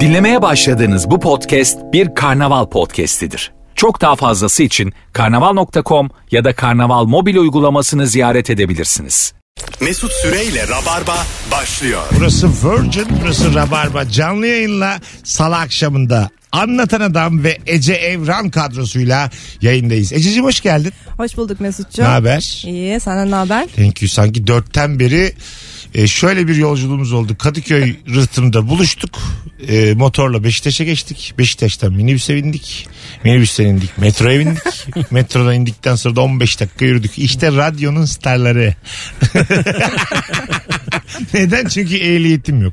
Dinlemeye başladığınız bu podcast bir karnaval podcastidir. Çok daha fazlası için karnaval.com ya da karnaval mobil uygulamasını ziyaret edebilirsiniz. Mesut Süreyle Rabarba başlıyor. Burası Virgin, burası Rabarba. Canlı yayınla salı akşamında Anlatan Adam ve Ece Evran kadrosuyla yayındayız. Ececiğim hoş geldin. Hoş bulduk Mesut'cum. Ne haber? İyi, senden ne haber? Thank you. Sanki dörtten beri e, şöyle bir yolculuğumuz oldu. Kadıköy rıhtımda buluştuk. E, motorla Beşiktaş'a geçtik. Beşiktaş'tan minibüse bindik. Minibüsten indik. Metroya bindik. Metrodan indikten sonra da 15 dakika yürüdük. İşte radyonun starları. Neden? Çünkü ehliyetim yok.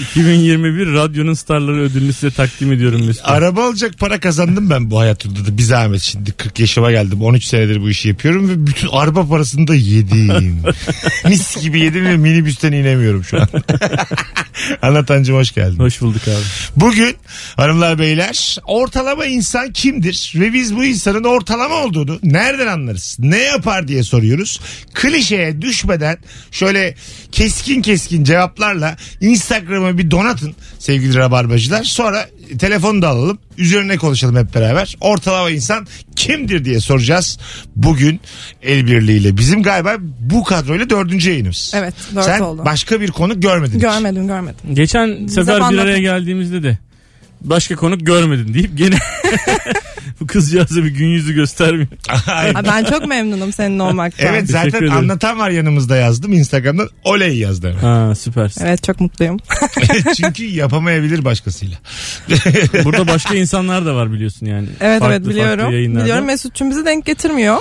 2021 radyonun starları ödülünü size takdim ediyorum Mesut. Araba alacak para kazandım ben bu hayatımda da bir zahmet şimdi 40 yaşıma geldim 13 senedir bu işi yapıyorum ve bütün araba parasını da yedim. Mis gibi yedim ve minibüsten inemiyorum şu an. Anlatancım hoş geldin. Hoş bulduk abi. Bugün hanımlar beyler ortalama insan kimdir ve biz bu insanın ortalama olduğunu nereden anlarız? Ne yapar diye soruyoruz. Klişeye düşmeden şöyle keskin keskin cevaplarla Instagram'a bir donatın sevgili rabarbacılar. Sonra telefonu da alalım. Üzerine konuşalım hep beraber. Ortalama insan kimdir diye soracağız bugün el birliğiyle. Bizim galiba bu kadroyla dördüncü yayınımız. Evet, dört Sen oldu. başka bir konuk görmedin. hiç. Görmedim, görmedim. Geçen sefer bir anlatın. araya geldiğimizde de başka konuk görmedin deyip gene bu kızcağıza bir gün yüzü göstermiyor. Aynen. Ha, ben çok memnunum senin olmaktan. Evet Teşekkür zaten ederim. anlatan var yanımızda yazdım. Instagram'dan oley yazdı. hemen. Ha süpersin. Evet, çok mutluyum. Çünkü yapamayabilir başkasıyla. Burada başka insanlar da var biliyorsun yani. Evet Farklı evet farklı biliyorum. yayınlarda. Biliyorum Mesut'cum bizi denk getirmiyor.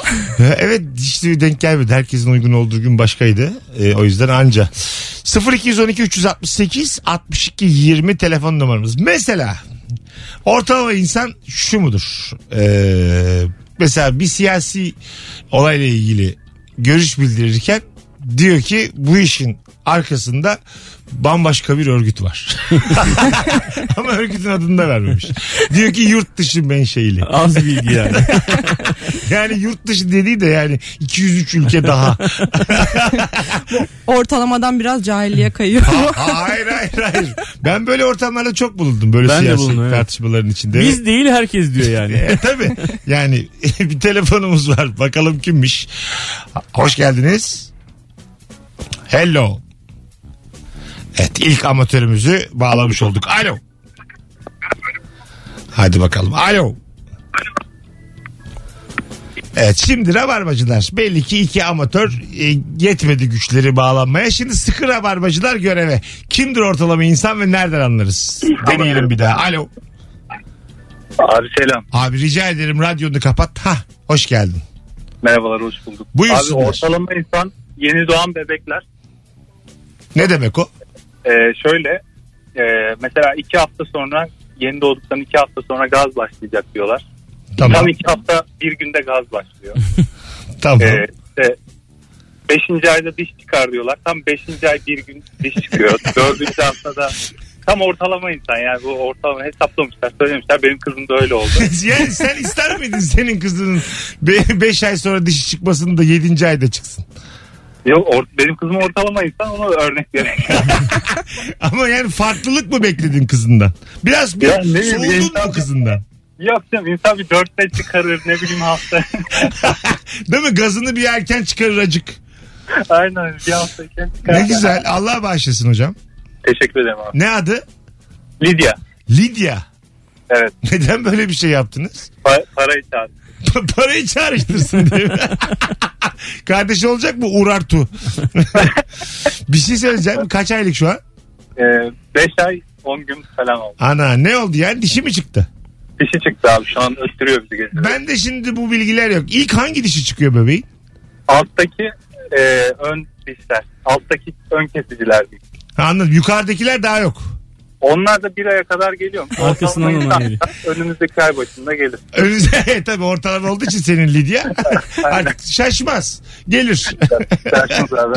evet hiç de denk gelmedi. Herkesin uygun olduğu gün başkaydı. Ee, o yüzden anca. 0212 368 62 20 telefon numaramız. Mesela ortalama insan şu mudur? Ee, mesela bir siyasi olayla ilgili görüş bildirirken diyor ki bu işin arkasında bambaşka bir örgüt var. Ama örgütün adını da vermemiş. Diyor ki yurt dışı menşeili. Az bilgi yani. Yani yurt dışı dediği de yani 203 ülke daha. Ortalamadan biraz cahilliğe Hmm. kayıyor. hayır hayır hayır. Ben böyle ortamlarda çok bulundum. Böyle Ben de siyasi bulundum, evet. tartışmaların içinde. Biz değil herkes diyor yani. E, tabii. Yani bir telefonumuz var. Bakalım kimmiş. Hoş geldiniz. Hello. Evet ilk amatörümüzü bağlamış olduk. Alo. Hadi bakalım. Alo. Evet şimdi rabarbacılar belli ki iki amatör e, yetmedi güçleri bağlanmaya. Şimdi sıkı rabarbacılar göreve. Kimdir ortalama insan ve nereden anlarız? Deneyelim bir daha. Alo. Abi selam. Abi rica ederim radyonu kapat. Ha hoş geldin. Merhabalar hoş bulduk. Abi Buyursunlar. ortalama insan yeni doğan bebekler Ne demek o? e, şöyle e, mesela iki hafta sonra yeni doğduktan iki hafta sonra gaz başlayacak diyorlar. Tamam. Tam iki hafta bir günde gaz başlıyor. Tamam. e, işte beşinci ayda diş çıkar diyorlar. Tam beşinci ay bir gün diş çıkıyor. Dördüncü haftada tam ortalama insan yani bu ortalama hesaplamışlar söylemişler. Benim kızım da öyle oldu. yani sen ister miydin senin kızının 5 ay sonra dişi çıkmasını da 7. ayda çıksın? Yok or- benim kızım ortalama insan ona örnek vereyim. Ama yani farklılık mı bekledin kızından? Biraz bir Ya ne bileyim, soğudun mu insan- kızından? Yok canım insan bir dörtte çıkarır ne bileyim hafta. Değil mi? Gazını bir erken çıkarır acık. Aynen bir haftayken çıkar. Ne güzel. Allah bağışlasın hocam. Teşekkür ederim abi. Ne adı? Lidya. Lidya. Evet. Neden böyle bir şey yaptınız? Pa- parayı çağır. Pa- Parayı çağrıştırsın diye. Kardeşi olacak mı? Urartu. bir şey söyleyeceğim. Kaç aylık şu an? 5 Ee, ay 10 gün falan oldu. Ana ne oldu yani dişi mi çıktı? Dişi şey çıktı abi şu an öttürüyor bizi gece. Ben de şimdi bu bilgiler yok. İlk hangi dişi çıkıyor bebeğin? Alttaki e, ön dişler. Alttaki ön kesiciler değil. Ha, Anladım. Yukarıdakiler daha yok. Onlar da bir aya kadar geliyor. Arkasından Ortalama onlar insan Önümüzdeki ay başında gelir. Önümüzde tabii ortalama olduğu için senin Lidya. Artık şaşmaz. Gelir. Dersiniz abi.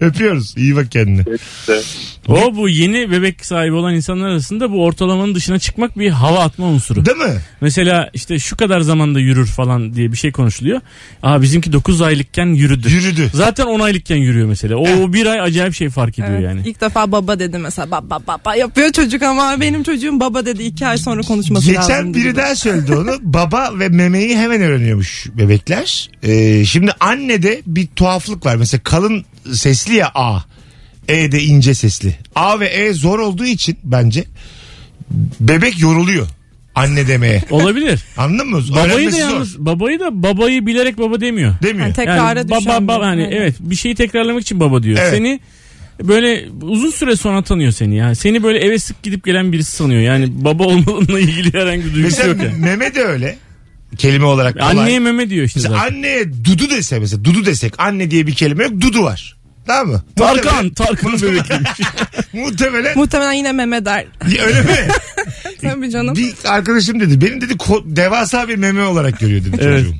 Öpüyoruz. İyi bak kendine. şey İşte. O bu yeni bebek sahibi olan insanlar arasında bu ortalamanın dışına çıkmak bir hava atma unsuru. Değil mi? Mesela işte şu kadar zamanda yürür falan diye bir şey konuşuluyor. Aa bizimki 9 aylıkken yürüdü. Yürüdü. Zaten 10 aylıkken yürüyor mesela. O bir ay acayip şey fark ediyor Evet, yani. İlk defa baba dedi mesela baba baba yapıyor çocuk ama benim çocuğum baba dedi iki ay sonra konuşması lazım. Geçen biri dedi. daha söyledi onu. Baba ve memeyi hemen öğreniyormuş bebekler. Ee, şimdi annede bir tuhaflık var. Mesela kalın sesli ya A. E de ince sesli. A ve E zor olduğu için bence bebek yoruluyor anne demeye. Olabilir. Anladın mı? babayı da Öğrenmesi zor. yalnız babayı da babayı bilerek baba demiyor. Demiyor. Yani tek- Yani Tekrara baba düşen baba bir- hani Aynen. evet bir şeyi tekrarlamak için baba diyor. Evet. Seni böyle uzun süre sonra tanıyor seni ya. Seni böyle eve sık gidip gelen birisi sanıyor. Yani baba olmanınla ilgili herhangi bir duygusu Mesela yok yani. meme de öyle. Kelime olarak kolay. Anneye meme diyor işte Mesela zaten. anneye dudu dese mesela dudu desek anne diye bir kelime yok dudu var. Tamam mı? Tarkan, Tarkan'ın Muhtemelen- bebekliymiş. Muhtemelen Muhtemelen yine meme der. öyle mi? Tabii canım. Bir arkadaşım dedi benim dedi ko- devasa bir meme olarak görüyor dedi Evet. çocuğum.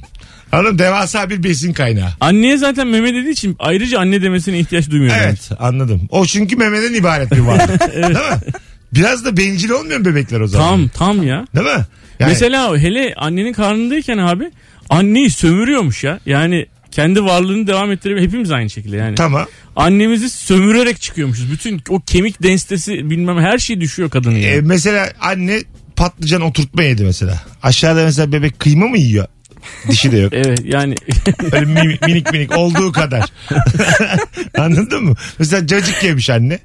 Anladın devasa bir besin kaynağı. Anneye zaten meme dediği için ayrıca anne demesine ihtiyaç duymuyor. yani. Evet anladım. O çünkü memeden ibaret bir varlık. Değil mi? Biraz da bencil olmuyor mu bebekler o zaman? Tam tam ya. Değil mi? Yani, Mesela hele annenin karnındayken abi anneyi sömürüyormuş ya. Yani kendi varlığını devam ettirip hepimiz aynı şekilde yani. Tamam. Annemizi sömürerek çıkıyormuşuz. Bütün o kemik densitesi bilmem her şey düşüyor kadının Ee, yani. mesela anne patlıcan oturtma yedi mesela. Aşağıda mesela bebek kıyma mı yiyor? Dişi de yok. Evet yani Öyle mi- minik minik olduğu kadar. Anladın mı? Mesela cacık yemiş anne.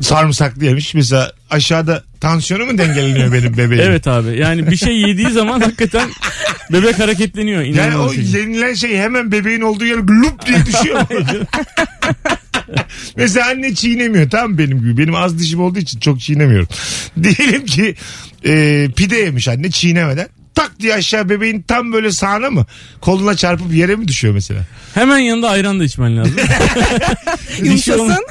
Sarımsaklı yemiş. Mesela aşağıda tansiyonu mu dengeleniyor benim bebeğim? evet abi yani bir şey yediği zaman hakikaten bebek hareketleniyor. Yani o inanılmaz şekilde. yenilen şey hemen bebeğin olduğu yere lup diye düşüyor. Mesela anne çiğnemiyor tam benim gibi. Benim az dişim olduğu için çok çiğnemiyorum. Diyelim ki e, pide yemiş anne çiğnemeden. Tak diye aşağı bebeğin tam böyle sağına mı? Koluna çarpıp yere mi düşüyor mesela? Hemen yanında ayran da içmen lazım. şey şey Yumuşasın.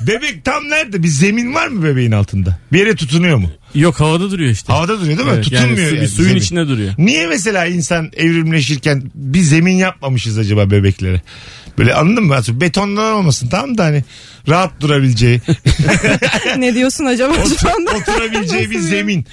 Bebek tam nerede? Bir zemin var mı bebeğin altında? Bir yere tutunuyor mu? Yok havada duruyor işte. Havada duruyor değil mi? Evet, yani Tutunmuyor. su- bir yani suyun zemin. içinde duruyor. Niye mesela insan evrimleşirken bir zemin yapmamışız acaba bebeklere? Böyle anladın mı? Aslında Betondan olmasın tamam da hani rahat durabileceği, ne diyorsun acaba şu anda? oturabileceği bir zemin.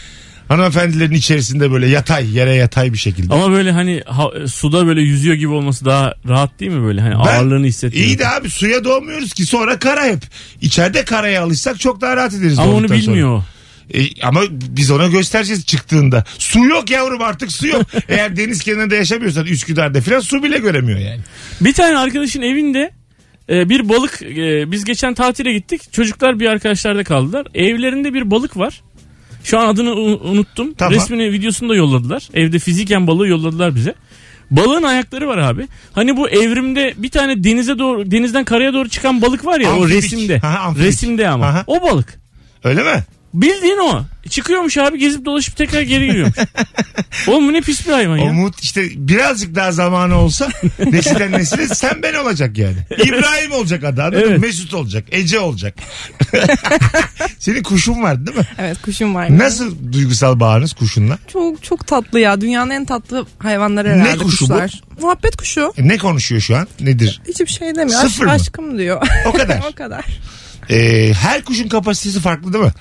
Hanımefendilerin içerisinde böyle yatay, yere yatay bir şekilde. Ama böyle hani ha- suda böyle yüzüyor gibi olması daha rahat değil mi böyle? Hani Ben- ağırlığını hissetmiyor. İyi de abi suya doğmuyoruz ki sonra kara hep. İçeride karaya alışsak çok daha rahat ederiz. Ama onu doğduktan sonra. bilmiyor. o. E, ama biz ona göstereceğiz çıktığında. Su yok yavrum artık su yok. Eğer deniz kenarında yaşamıyorsan Üsküdar'da filan su bile göremiyor yani. Bir tane arkadaşın evinde e, bir balık e, biz geçen tatile gittik. Çocuklar bir arkadaşlarda kaldılar. Evlerinde bir balık var. Şu an adını u- unuttum. Tamam. Resmini videosunu da yolladılar. Evde fiziken balığı yolladılar bize. Balığın ayakları var abi. Hani bu evrimde bir tane denize doğru denizden karaya doğru çıkan balık var ya o Amfibik. resimde. Aha, amfibik. resimde ama. Aha. O balık. Öyle mi? Bildiğin o. Çıkıyormuş abi gezip dolaşıp tekrar geri giriyormuş. Oğlum bu ne pis bir hayvan ya. Umut işte birazcık daha zamanı olsa nesilden nesile sen ben olacak yani. İbrahim olacak adı anladın mı? Evet. Mesut olacak. Ece olacak. Senin kuşun vardı değil mi? Evet kuşum var. Nasıl duygusal bağınız kuşunla? Çok çok tatlı ya. Dünyanın en tatlı hayvanları herhalde Ne kuşu bu? kuşlar. Muhabbet kuşu. E, Ne konuşuyor şu an? Nedir? Hiçbir şey demiyor. Aşk- Sıfır mı? aşkım diyor. O kadar. o kadar. E, her kuşun kapasitesi farklı değil mi?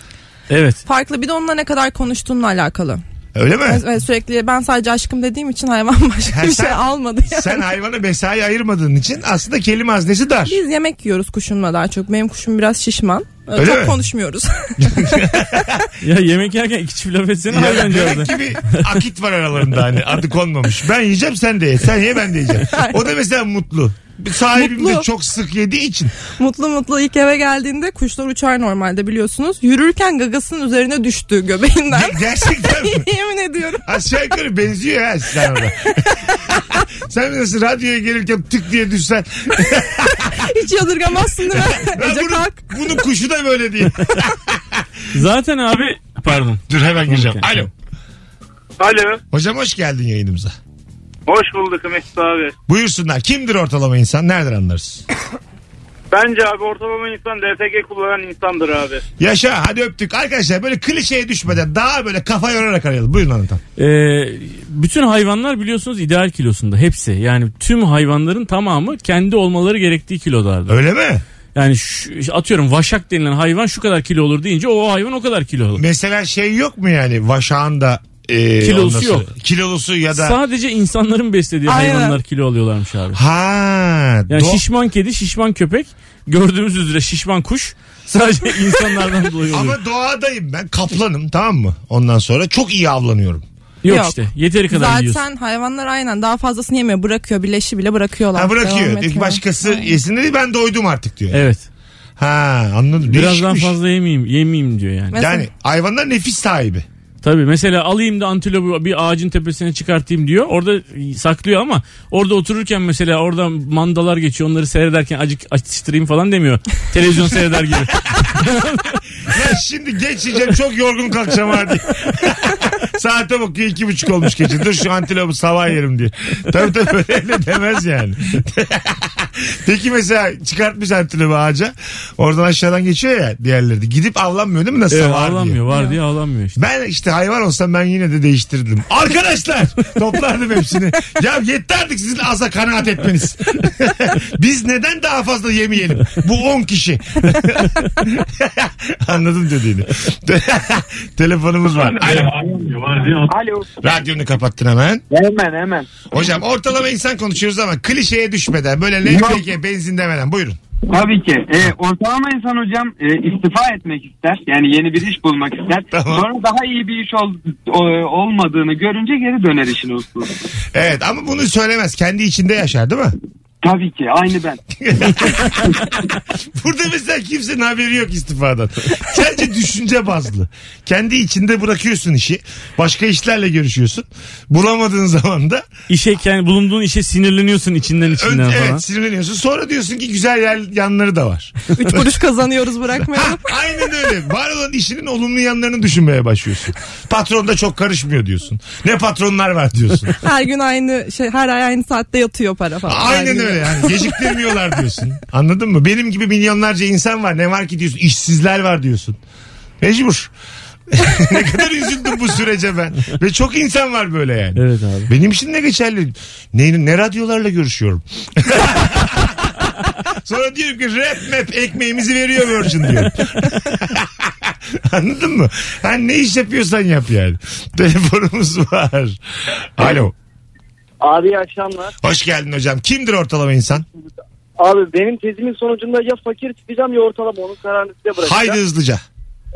Evet. Farklı bir de onunla ne kadar konuştuğunla alakalı. Öyle mi? Evet, sürekli ben sadece aşkım dediğim için hayvan başka Ha, bir sen- şey almadı. Yani. Sen hayvana mesai ayırmadığın için aslında kelime haznesi dar. Biz yemek yiyoruz kuşunla daha çok. Benim kuşum biraz şişman. Ee, Öyle çok mi? konuşmuyoruz. Ya yemek yerken iki çift laf etsene Ya harbiden demek cevabı. ki bir akit var aralarında hani adı konmamış. Ben yiyeceğim sen de ye. Sen ye ben de yiyeceğim. O da mesela mutlu. Bir Sahibim de Mutlu. çok sık yediği için. mutlu mutlu ilk eve geldiğinde kuşlar uçar normalde biliyorsunuz. Yürürken gagasının üzerine düştü göbeğinden. Gerçekten mi? Yemin ediyorum. Aşağı yukarı benziyor ha sen orada. sen nasıl radyoya gelirken tık diye düşsen. Hiç yadırgamazsın değil mi? "Lan Ece bunun, kalk. bunun kuşu da böyle diye. Zaten abi pardon. Dur hemen gireceğim. Okey. Alo. Alo. Hocam hoş geldin yayınımıza. Hoş bulduk Mesut abi. Buyursunlar. Kimdir ortalama insan? Nereden anlarız? Bence abi ortalama insan DTG kullanan insandır abi. Yaşa hadi öptük. Arkadaşlar böyle klişeye düşmeden daha böyle kafa yorarak arayalım. Buyurun anlatan. Ee, bütün hayvanlar biliyorsunuz ideal kilosunda hepsi. Yani tüm hayvanların tamamı kendi olmaları gerektiği kilolarda. Öyle mi? Yani şu- atıyorum vaşak denilen hayvan şu kadar kilo olur deyince o hayvan o kadar kilo olur. Mesela şey yok mu yani vaşağın da e, Kilosu ondan sonra- yok. Kilolusu ya da Sadece insanların beslediği Aynen. hayvanlar kilo alıyorlarmış abi. ha Yani do- şişman kedi, şişman köpek, gördüğümüz üzere şişman kuş sadece insanlardan dolayı oluyor. ama doğadayım ben kaplanım tamam mı? Ondan sonra çok iyi avlanıyorum. yok, Yok. işte yeteri kadar Zaten yiyorsun. hayvanlar aynen daha fazlasını yemiyor. Bırakıyor. Bileşi bile bırakıyorlar. Ha bırakıyor. Devam Diyor ki ediyor. başkası Aynen. yesin dedi ben doydum artık diyor. Evet. Ha anladım. Birazdan Değişikmiş. fazla yemeyeyim, yemeyeyim diyor yani. Mesela- Yani hayvanlar nefis sahibi. Tabii mesela alayım da antilopu bir ağacın tepesine çıkartayım diyor. Orada saklıyor ama orada otururken mesela oradan mandalar geçiyor. Onları seyrederken acık açtırayım falan demiyor. Televizyon seyreder gibi. Ya şimdi geç yiyeceğim çok yorgun kalkacağım hadi. Saate bakıyor iki buçuk olmuş gece. Dur şu antilopu sabah yerim diye. Tabii tabii öyle demez yani. Peki mesela çıkartmış antilopu ağaca. Oradan aşağıdan geçiyor ya diğerleri de. Gidip avlanmıyor değil mi nasıl Evet, var diye. ağlamıyor. Var diye ağlamıyor işte. Ben işte hayvan olsam ben yine de değiştirdim. Arkadaşlar toplardım hepsini. Ya yetti artık sizin aza kanaat etmeniz. Biz neden daha fazla yemeyelim? Bu 10 kişi. Anladım dediğini. Telefonumuz var. Alo. Alo. Radyonu kapattın hemen. Hemen hemen. Hocam ortalama insan konuşuyoruz ama klişeye düşmeden böyle LPG benzin demeden buyurun. Tabii ki. E, ortalama insan hocam e, istifa etmek ister. Yani yeni bir iş bulmak ister. Tamam. Sonra daha iyi bir iş ol- o- olmadığını görünce geri döner işin usulü. Evet ama bunu söylemez. Kendi içinde yaşar değil mi? Tabii ki. Aynı ben. Burada mesela kimsenin haberi yok istifadan. Sadece düşünce bazlı. Kendi içinde bırakıyorsun işi. Başka işlerle görüşüyorsun. Bulamadığın zaman da İşe kendi bulunduğun işe sinirleniyorsun içinden ön, içinden falan. evet, sinirleniyorsun. Sonra diyorsun ki güzel yer, yanları da var. Üç kuruş kazanıyoruz bırakmayalım. Aynen öyle. Var olan işinin olumlu yanlarını düşünmeye başlıyorsun. Patron da çok karışmıyor diyorsun. Ne patronlar var diyorsun. her gün aynı şey her ay aynı saatte yatıyor para falan. Her Aynen gün. öyle yani geciktirmiyorlar diyorsun. Anladın mı? Benim gibi milyonlarca insan var. Ne var ki diyorsun. İşsizler var diyorsun. Mecbur. ne kadar üzüldüm bu sürece ben. Ve çok insan var böyle yani. Evet abi. Benim için ne geçerli? Ne, ne radyolarla görüşüyorum? Sonra diyorum ki rap map ekmeğimizi veriyor Virgin diyorum. Anladın mı? Hani ne iş yapıyorsan yap yani. Telefonumuz var. Alo. Abi iyi akşamlar. Hoş geldin hocam. Kimdir ortalama insan? Abi benim tezimin sonucunda ya fakir çıkacağım ya ortalama onun kararını size bırakacağım. Haydi hızlıca.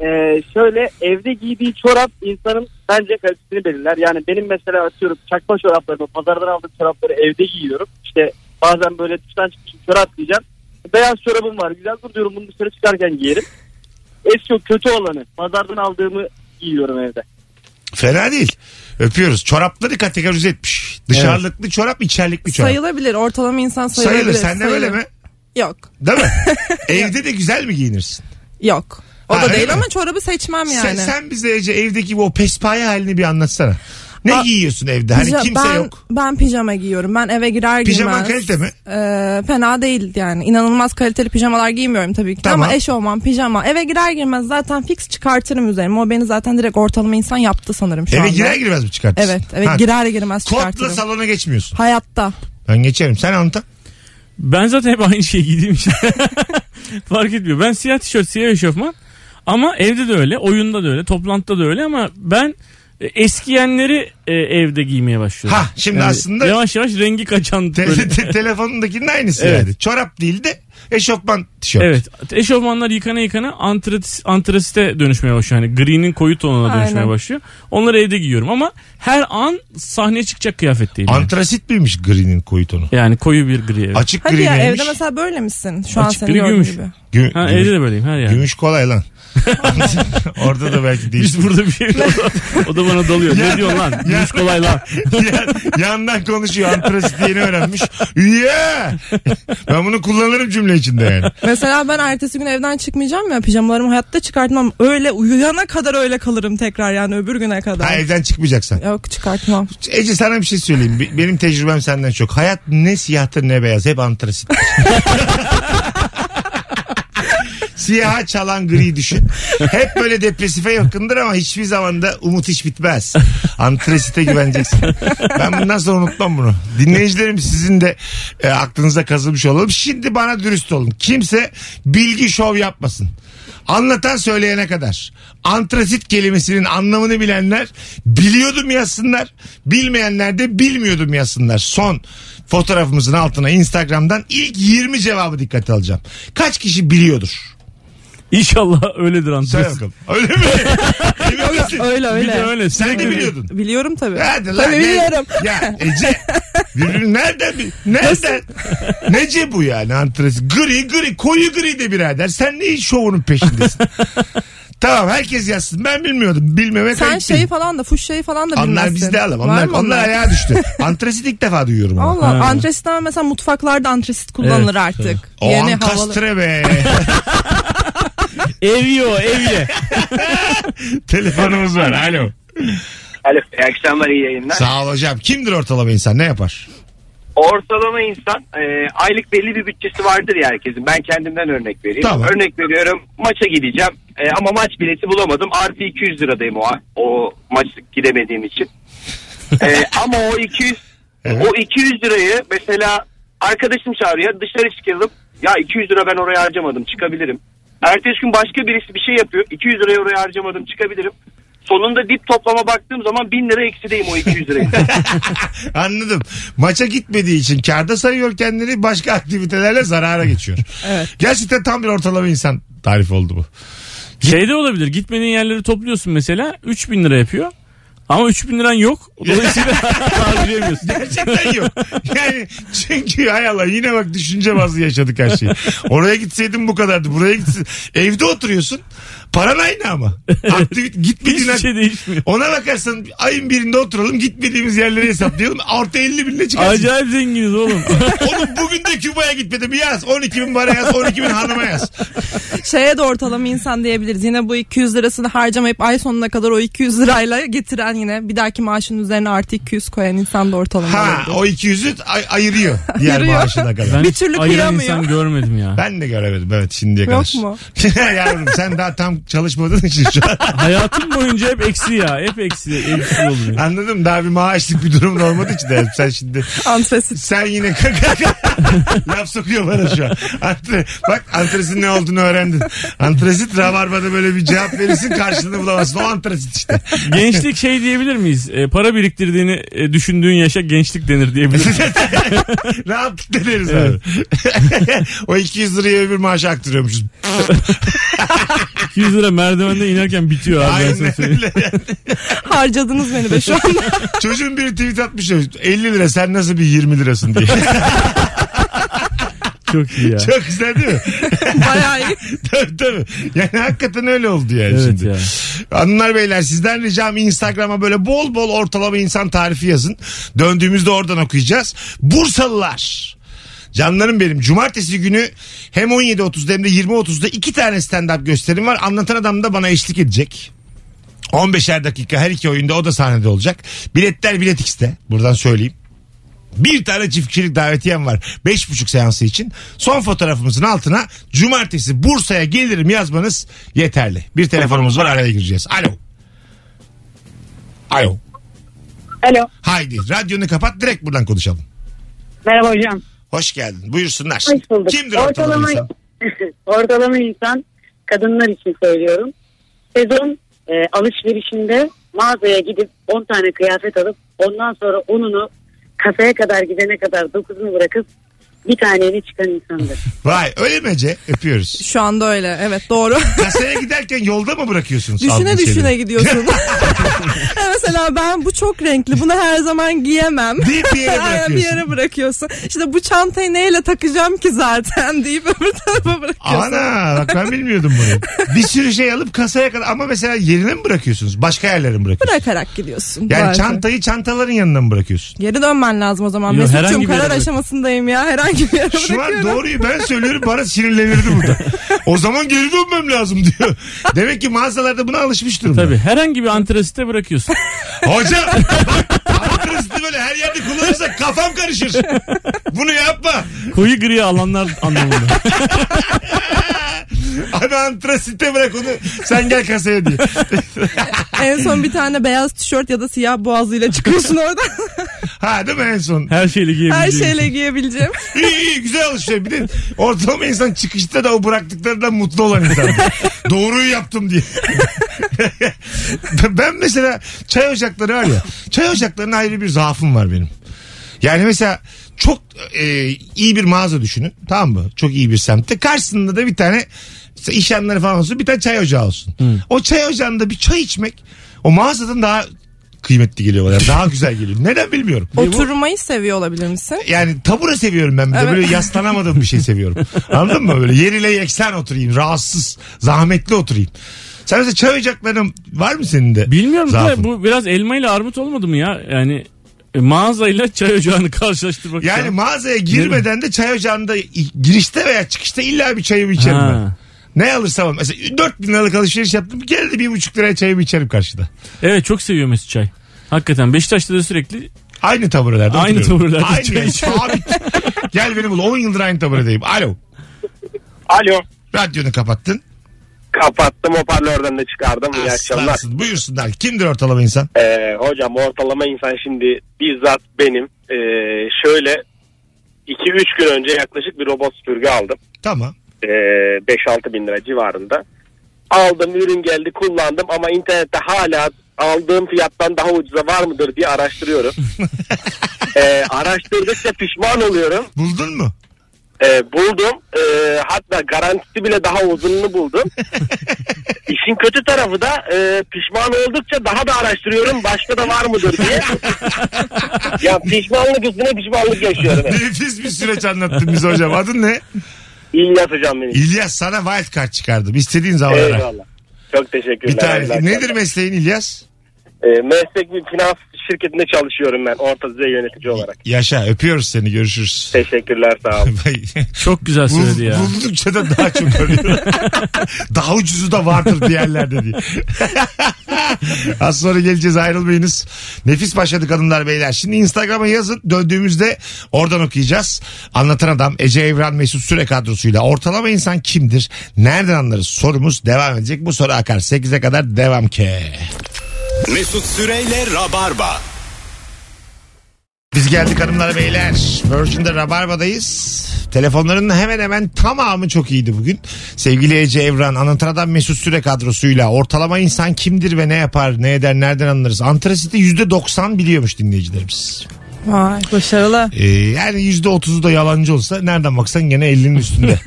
Ee, şöyle evde giydiği çorap insanın bence kalitesini belirler. Yani benim mesela atıyorum çakma çoraplarımı pazardan aldığım çorapları evde giyiyorum. İşte bazen böyle dıştan çıkmış bir çorap giyeceğim. Beyaz çorabım var güzel dur diyorum bunu dışarı çıkarken giyerim. Eski o kötü olanı pazardan aldığımı giyiyorum evde. Fena değil. Öpüyoruz. Çorapları kategorize etmiş. Dışarılıklı çorap, içerlikli çorap. Sayılabilir. Ortalama insan sayılabilir. Sayılır. Sen de sayılır. böyle mi? Yok. Değil mi? Evde de güzel mi giyinirsin? Yok. O Ha, da öyle değil mi? ama çorabı seçmem Sen, yani. sen bize Ece evdeki bu o pespaye halini bir anlatsana. Ne Aa, giyiyorsun evde? Hani Pija- kimse ben, yok. Ben pijama giyiyorum. Ben eve girer girmez. Pijaman kalite mi? Ee, fena değil yani. İnanılmaz kaliteli pijamalar giymiyorum tabii ki. Tamam. Ama eşofman, pijama. Eve girer girmez zaten fix çıkartırım üzerime. O beni zaten direkt ortalama insan yaptı sanırım şu Eve anda. girer girmez mi çıkartırsın? Evet. Eve Ha, girer girmez Kotla çıkartırım. salona geçmiyorsun. Hayatta. Ben geçerim. Sen anlatan. Ben zaten hep aynı şeyi giydiğim için. Fark etmiyor. Ben siyah tişört, siyah eşofman. Ama evde de öyle, oyunda da öyle, toplantıda da öyle ama ben e, eskiyenleri e, evde giymeye başlıyorum. Ha, şimdi aslında- Yavaş yavaş rengi kaçan Te- böyle. te- telefonundakinin aynısı Evet. yani. Çorap değil de eşofman tişört. Evet. Eşofmanlar yıkana yıkana antrat, antrasite dönüşmeye başlıyor. Hani gri'nin koyu tonuna dönüşmeye Aynen. başlıyor. Onları evde giyiyorum ama her an sahneye çıkacak kıyafet değil. yani. Antrasit miymiş grinin koyu tonu? Yani koyu bir gri. evet. Açık Hadi gri ya neymiş? evde mesela böyle misin? Şu an Açık seni gri gördüğüm gümüş. gibi. Gü- Ha, gümüş- evde de böyleyim her yerde. Gümüş kolay lan. Orada da belki değil. Biz burada bir şey O da bana dalıyor. ne diyor lan? Gümüş kolay lan. Ya- yandan konuşuyor. Antrasit yeni öğrenmiş. Yeah! ben bunu kullanırım cümle içinde yani. Mesela ben ertesi gün evden çıkmayacağım ya pijamalarımı hayatta çıkartmam. Öyle uyuyana kadar öyle kalırım tekrar yani öbür güne kadar. Ha, evden çıkmayacaksan. Yok çıkartmam. Ece sana bir şey söyleyeyim. Be- Benim tecrübem senden çok. Hayat ne siyahtır ne beyaz. Hep antrasit. Siyaha çalan gri düşün. Hep böyle depresife yakındır ama hiçbir zaman da umut hiç bitmez. Antresite güveneceksin. Ben bundan sonra unutmam bunu. Dinleyicilerim sizin de e, aklınıza kazılmış olalım. Şimdi bana dürüst olun. Kimse bilgi şov yapmasın. Anlatan söyleyene kadar. Antrasit kelimesinin anlamını bilenler biliyordum yazsınlar. Bilmeyenler de bilmiyordum yazsınlar. Son fotoğrafımızın altına Instagram'dan ilk 20 cevabı dikkate alacağım. Kaç kişi biliyordur? İnşallah öyledir Söyle antres. bakalım. Öyle mi? Emin misin? Öyle Bir de öyle. öyle. Sen de sürekli- biliyordun. Biliyorum tabii. Hadi lan. tabii ne- biliyorum. Ya Ece. Birbirini nereden bil- Nereden? Nece bu yani antres? Gri gri koyu gri de birader. Sen neyin şovunun peşindesin? tamam herkes yazsın. Ben bilmiyordum. Bilmemek Sen ayıp şeyi değil. falan da fuş şeyi falan da bilmezsin. onlar bizde alalım. Var Onlar, mı onlar ayağa düştü. Antresit ilk defa duyuyorum ama. Allah antresit ama mesela mutfaklarda antresit kullanılır artık. O Yeni havalı. ankastre be. Eviyor evye. Telefonumuz var. Alo. Alo. İyi akşamlar iyi yayınlar. Sağ ol hocam. Kimdir ortalama insan? Ne yapar? Ortalama insan e, aylık belli bir bütçesi vardır ya herkesin. Ben kendimden örnek vereyim. Tamam. Örnek veriyorum maça gideceğim E, ama maç bileti bulamadım. Artı 200 liradayım o, o maç gidemediğim için. E, ama o 200 Evet. o 200 lirayı mesela arkadaşım çağırıyor dışarı çıkalım. Ya 200 lira ben oraya harcamadım çıkabilirim. Ertesi gün başka birisi bir şey yapıyor. 200 lirayı oraya harcamadım çıkabilirim. Sonunda dip toplama baktığım zaman 1000 lira eksideyim o 200 lirayı. Anladım. Maça gitmediği için karda sayıyor kendini başka aktivitelerle zarara geçiyor. Evet. Gerçekten tam bir ortalama insan tarif oldu bu. Şey de olabilir. Gitmediğin yerleri topluyorsun mesela. 3000 lira yapıyor. Ama 3000 liran yok. Dolayısıyla harcayamıyorsun. Gerçekten yok. Yani çünkü hay Allah yine bak düşünce bazlı yaşadık her şeyi. Oraya gitseydin bu kadardı. Buraya gitsin. Evde oturuyorsun. Paran aynı ama. Aktivit gitmediğin Hiçbir şey değişmiyor. Ona bakarsan ayın birinde oturalım gitmediğimiz yerleri hesaplayalım. Orta 50 binle çıkarsın. Acayip zenginiz oğlum. Oğlum bugün de Küba'ya gitmedim yaz. 12 bin bana yaz 12 bin hanıma yaz. Şeye de ortalama insan diyebiliriz. Yine bu 200 lirasını harcamayıp ay sonuna kadar o 200 lirayla getiren yine bir dahaki maaşın üzerine artı 200 koyan insan da ortalama Ha olabilir. o 200'ü ay- ayırıyor diğer Ayırıyor. maaşına kadar. Ben Bir türlü ayıran kıyamıyor. insan görmedim ya. Ben de göremedim evet şimdiye Yok kadar. mu? Yavrum sen daha tam çalışmadığın için şu an Hayatım boyunca hep eksi ya. Hep eksi. Eksi oluyor. anladım daha bir maaşlık bir durum olmadı için de sen şimdi Antresit. sen yine kaka laf sokuyor bana şu an. Antre, bak antresin ne olduğunu öğrendin. Antresit rabarbada böyle bir cevap verirsin karşılığını bulamazsın. O antresit işte. Gençlik şey diyebilir miyiz? E, para biriktirdiğini e, düşündüğün yaşa gençlik denir diyebilir miyiz? Rahatlık deneriz abi. o 200 liraya öbür maaşı aktırıyormuşuz. 200 lira merdivenden inerken bitiyor abi. ben sana Aynen söyleyeyim. öyle. Harcadınız beni be şu anda. Çocuğun biri tweet atmış ya, 50 lira sen nasıl bir 20 lirasın diye. Çok iyi ya. Çok güzel değil mi? Bayağı iyi. tabii tabii. Yani hakikaten öyle oldu yani Evet şimdi. ya. Hanımlar beyler sizden ricam Instagram'a böyle bol bol ortalama insan tarifi yazın. Döndüğümüzde oradan okuyacağız. Bursalılar. Canlarım benim. Cumartesi günü hem 17.30'da hem de 20.30'da iki tane stand-up gösterim var. Anlatan adam da bana eşlik edecek. 15'er dakika her iki oyunda o da sahnede olacak. Biletler Bilet X'te. Buradan söyleyeyim. Bir tane çift kişilik davetiyem var. Beş buçuk seansı için. Son fotoğrafımızın altına cumartesi Bursa'ya gelirim yazmanız yeterli. Bir telefonumuz var araya gireceğiz. Alo. Alo. Alo. Haydi radyonu kapat direkt buradan konuşalım. Merhaba hocam. Hoş geldin. Buyursunlar. Hoş bulduk. Kimdir ortalama, insan? ortalama insan kadınlar için söylüyorum. Sezon e, alışverişinde mağazaya gidip 10 tane kıyafet alıp ondan sonra onunu kasaya kadar gidene kadar 9'unu bırakıp bir taneyle çıkan insandır. Vay öyle mi Ece? Öpüyoruz. Şu anda öyle. Evet doğru. Kasaya giderken yolda mı bırakıyorsunuz? Düşüne aldığınız düşüne şeyleri? gidiyorsun. Ya mesela ben bu çok renkli. Bunu her zaman giyemem. Deyip bir yere Aynen bir bırakıyorsun. yere bırakıyorsun. İşte bu çantayı neyle takacağım ki zaten deyip öbür tarafa bırakıyorsun. Ana bak ben bilmiyordum bunu. Bir sürü şey alıp kasaya kadar ama mesela yerine mi bırakıyorsunuz? Başka yerlere mi bırakıyorsunuz? Bırakarak gidiyorsun. Yani bazen. çantayı çantaların yanına mı bırakıyorsun? Geri dönmen lazım o zaman. Yo, herhangi Mesut'cum bir yere karar bırak. aşamasındayım ya. Herhangi bir Şu yere an bırakıyorum. doğruyu ben söylüyorum bana sinirlenirdi burada. O zaman geri dönmem lazım diyor. Demek ki mağazalarda buna alışmış durumda. Tabii herhangi bir antrasite bırakıyorsun. Hocam bak, adresini böyle her yerde kullanırsak kafam karışır. Bunu yapma. Koyu gri alanlar anlamında. Abi antrasite bırak onu. Sen gel kasaya diye. en son bir tane beyaz tişört ya da siyah boğazıyla çıkıyorsun oradan. Ha değil mi en son? Her şeyle giyebileceğim. Her şeyle giyebileceğim. İyi iyi güzel alışıyor. Bir de ortalama insan çıkışta da o bıraktıklarından mutlu olan insan. Doğruyu yaptım diye. ben mesela çay ocakları var ya. Çay ocaklarına ayrı bir zaafım var benim. Yani mesela çok e, iyi bir mağaza düşünün. Tamam mı? Çok iyi bir semtte. Karşısında da bir tane mesela iş yanları falan olsun. Bir tane çay ocağı olsun. O çay ocağında bir çay içmek o mağazadan daha kıymetli geliyor bana. Daha güzel geliyor. Neden bilmiyorum. Oturmayı seviyor olabilir misin? Yani tabure seviyorum ben bir de. Evet. Böyle yaslanamadığım bir şey seviyorum. Anladın mı? Böyle yeriyle yeksen oturayım. Rahatsız, zahmetli oturayım. Sen mesela çay ocaklarının var mı senin de? Bilmiyorum da zaafın? bu biraz elma ile armut olmadı mı ya? Yani e, mağazayla çay ocağını karşılaştırmak. Yani ya. mağazaya girmeden de çay ocağında i- girişte veya çıkışta illa bir çayımı içerim ben. Ha. Ne alırsam alayım. mesela 4 bin liralık alışveriş yaptım gene de bir buçuk liraya çayımı içerim karşıda. Evet çok seviyor Mesut çay. Hakikaten Beşiktaş'ta da sürekli Aynı taburelerde Aynı oturuyorum. taburelerde Aynı çay yani, sabit. Gel beni bul 10 yıldır aynı taburedeyim. Alo Alo. radyonu kapattın. Kapattım hoparlörden de çıkardım. Ah, İyi akşamlar. Aslansın buyursunlar. Kimdir ortalama insan? Ee, hocam ortalama insan şimdi bizzat benim ee, şöyle 2-3 gün önce yaklaşık bir robot süpürge aldım. Tamam. Ee, 5-6 bin lira civarında. Aldım ürün geldi kullandım ama internette hala aldığım fiyattan daha ucuza var mıdır diye araştırıyorum. ee, araştırdıkça pişman oluyorum. Buldun mu? Ee, buldum. Ee, hatta garantisi bile daha uzununu buldum. İşin kötü tarafı da e, pişman oldukça daha da araştırıyorum. Başka da var mıdır diye. ya pişmanlık üstüne pişmanlık yaşıyorum. hep. Nefis bir süreç anlattın bize hocam. Adın ne? İyi yapacağım beni. İlyas sana wild card çıkardım. İstediğin zaman ara. Eyvallah. Çok teşekkürler. Bir tane. Eyvallah. Nedir mesleğin İlyas? Ee, meslek bir finans şirketinde çalışıyorum ben. Orta düzey yönetici olarak. Yaşa öpüyoruz seni görüşürüz. Teşekkürler sağ olun. Vay. çok güzel Bul- söyledi ya. buldukça da daha çok arıyor. daha ucuzu da vardır bir yerlerde diye. Az sonra geleceğiz ayrılmayınız. Nefis başladık hanımlar beyler. Şimdi Instagram'a yazın. Döndüğümüzde oradan okuyacağız. Anlatan adam Ece Evren Mesut Süre kadrosuyla. Ortalama insan kimdir? Nereden anlarız? Sorumuz devam edecek. Bu soru akar. 8'e kadar devam ki. Mesut Süreyle Rabarba. Biz geldik hanımlar beyler. Virgin'de Rabarba'dayız. Telefonların hemen hemen tamamı çok iyiydi bugün. Sevgili Ece Evran, Anlatana'dan Mesut Süre kadrosuyla ortalama insan kimdir ve ne yapar, ne eder, nereden anlarız? Antrasiti %90 biliyormuş dinleyicilerimiz. Vay başarılı. Ee, yani %30'u da yalancı olsa nereden baksan gene 50'nin üstünde.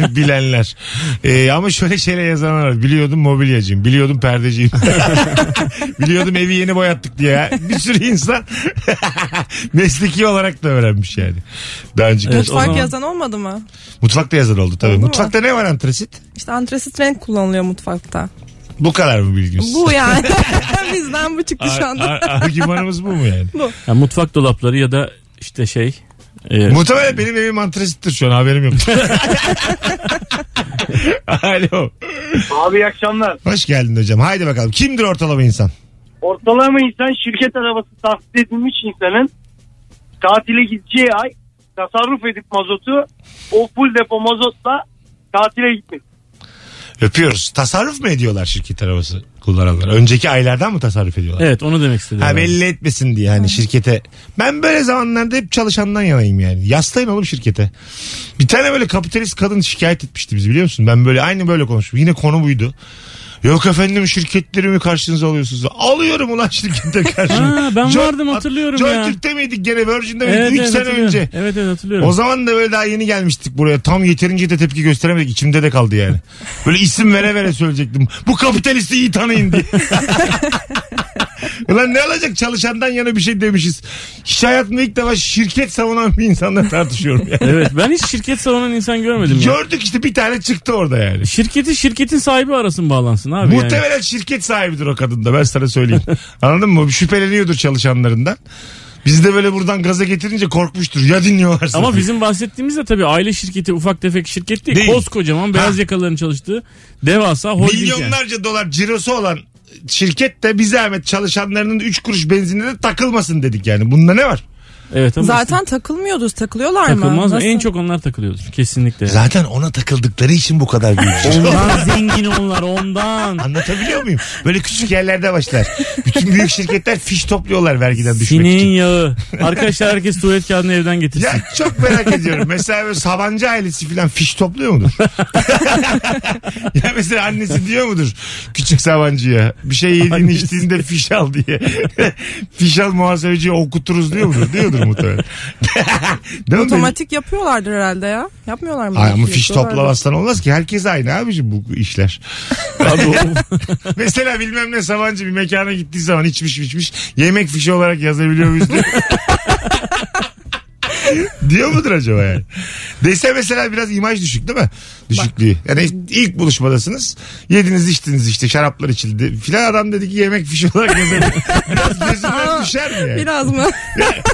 Bilenler. Ee, ama şöyle şeyle yazanlar var. Biliyordum mobilyacıyım, biliyordum perdeciyim. biliyordum evi yeni boyattık diye. ya. Bir sürü insan mesleki olarak da öğrenmiş yani. Daha önceki. Evet, o Mutfak zaman- yazan olmadı mı? Mutfakta yazan oldu tabii. Oldu mu? Mutfakta ne var antresit? İşte antresit renk kullanılıyor mutfakta. Bu kadar mı bilginiz? Bu yani. Bizden bu çıktı şu anda. Argümanımız bu mu yani? Ya mutfak dolapları ya da işte şey. e, Muhtemelen benim evim antresittir şu an haberim yok. Alo. Abi iyi akşamlar. Hoş geldin hocam. Haydi bakalım. Kimdir ortalama insan? Ortalama insan şirket arabası tahsis edilmiş insanın tatile gideceği ay tasarruf edip mazotu o full depo mazotla tatile gitmek. Öpüyoruz. Tasarruf mu ediyorlar şirket arabası kullananlar? Önceki aylardan mı tasarruf ediyorlar? Evet onu demek istedim. Ha ben. belli etmesin diye hani şirkete. Ben böyle zamanlarda hep çalışandan yanayım yani. Yaslayın oğlum şirkete. Bir tane böyle kapitalist kadın şikayet etmişti bizi biliyor musun? Ben böyle aynı böyle konuştum. Yine konu buydu. Yok efendim şirketleri mi karşınıza alıyorsunuz? Alıyorum ulan şirkette karşıma. Ha, ben Jo- vardım, hatırlıyorum Joy ya. Türk'te miydik gene Virgin'de miydik? Evet, 3 evet, sene hatırlıyorum. önce. Evet evet hatırlıyorum. O zaman da böyle daha yeni gelmiştik buraya. Tam yeterince de tepki gösteremedik. İçimde de kaldı yani. Böyle isim vere vere söyleyecektim. Bu kapitalisti iyi tanıyın diye. Ulan ne olacak çalışandan yana bir şey demişiz. Hiç hayatımda ilk defa şirket savunan bir insanla tartışıyorum yani. Evet ben hiç şirket savunan insan görmedim ya. Gördük işte bir tane çıktı orada yani. Şirketi şirketin sahibi arasın bağlansın abi. yani. Muhtemelen şirket sahibidir o kadın da ben sana söyleyeyim. Anladın mı? Şüpheleniyordur çalışanlarından. Biz de böyle buradan gaza getirince korkmuştur. Ya dinliyorlarsa. Ama bizim bahsettiğimiz de tabii aile şirketi ufak tefek şirket değil. Değil. Koskocaman beyaz Ha. yakaların çalıştığı devasa holding yani. Milyonlarca dolar cirosu olan şirket de bize zahmet çalışanlarının 3 kuruş benzinine de takılmasın dedik yani. Bunda ne var? Evet ama Zaten takılmıyordur. Takılıyorlar mı? takılmaz mı? En Nasıl? çok onlar takılıyordur kesinlikle. Zaten ona takıldıkları için bu kadar büyük. Ondan zengin onlar ondan. Anlatabiliyor muyum? Böyle küçük yerlerde başlar. Bütün büyük şirketler fiş topluyorlar vergiden düşmek Sineğin için. yağı. Arkadaşlar herkes tuvalet kağıdını evden getirsin. Ya çok merak ediyorum. Mesela böyle Sabancı ailesi falan fiş topluyor mudur? ya mesela annesi diyor mudur küçük Sabancı'ya bir şey yediğin Annesi. içtiğinde fiş al diye. fiş al muhasebeciye okuturuz diyor mudur? Diyordur muhtemelen. Değil mi? Otomatik yapıyorlardır herhalde ya. Yapmıyorlar mı? Ay ama fiş Yapıyorlar. toplamazsan olmaz ki. Herkes aynı abicim bu işler. Abi o- Mesela bilmem ne Sabancı bir mekana gittiği zaman içmiş içmiş yemek fişi olarak yazabiliyor muyuz diye. Diyor mudur acaba yani? Dese mesela biraz imaj düşük değil mi? Düşüklüğü. Yani ilk buluşmadasınız. Yediniz içtiniz işte şaraplar içildi. Filan adam dedi ki yemek fişi olarak yazabiliyor. biraz gözünden düşer mi yani? Biraz mı?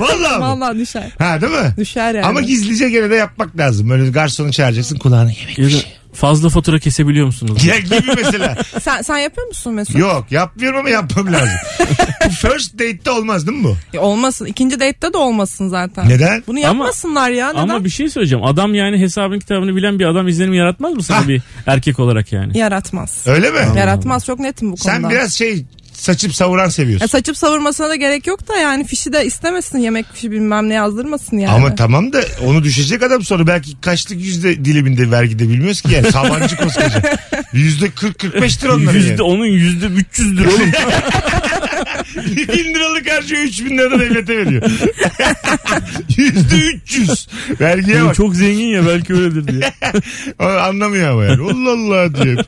Vallahi. mi? Vallahi düşer. Ha değil mi? Düşer yani. Ama gizlice gene de yapmak lazım. Böyle garsonu çağıracaksın kulağına yemek Ya da fişi. fazla fatura kesebiliyor musunuz? Ya gibi mesela. Sen, sen yapıyor musun Mesut? Yok yapmıyorum ama yapmam lazım. Bu First date'te olmaz değil mi bu? E, Olmasın. İkinci date'te de olmasın zaten. Neden? Bunu Ama- yapmasınlar ya. Neden? Ama bir şey söyleyeceğim. Adam yani hesabın kitabını bilen bir adam izlenim yaratmaz mı sana Ha. bir erkek olarak yani? Yaratmaz. Öyle mi? Yaratmaz. Çok netim bu konuda. Sen biraz şey saçıp savuran seviyorsun. Ya saçıp savurmasına da gerek yok da yani fişi de istemesin yemek fişi bilmem ne yazdırmasın yani. Ama tamam da onu düşecek adam sonra belki kaçlık yüzde diliminde vergide bilmiyoruz ki yani Sabancı koskoca. Yüzde 40-45'tir onların Yüzde yani. onun yüzde 300'dür oğlum. Bin liralık harcıyor 3000 liradan devlete veriyor. Yüzde 300. Vergiye Oğlum bak. çok zengin ya belki öyledir diye. O Anlamıyor ama yani. Allah Allah diyor.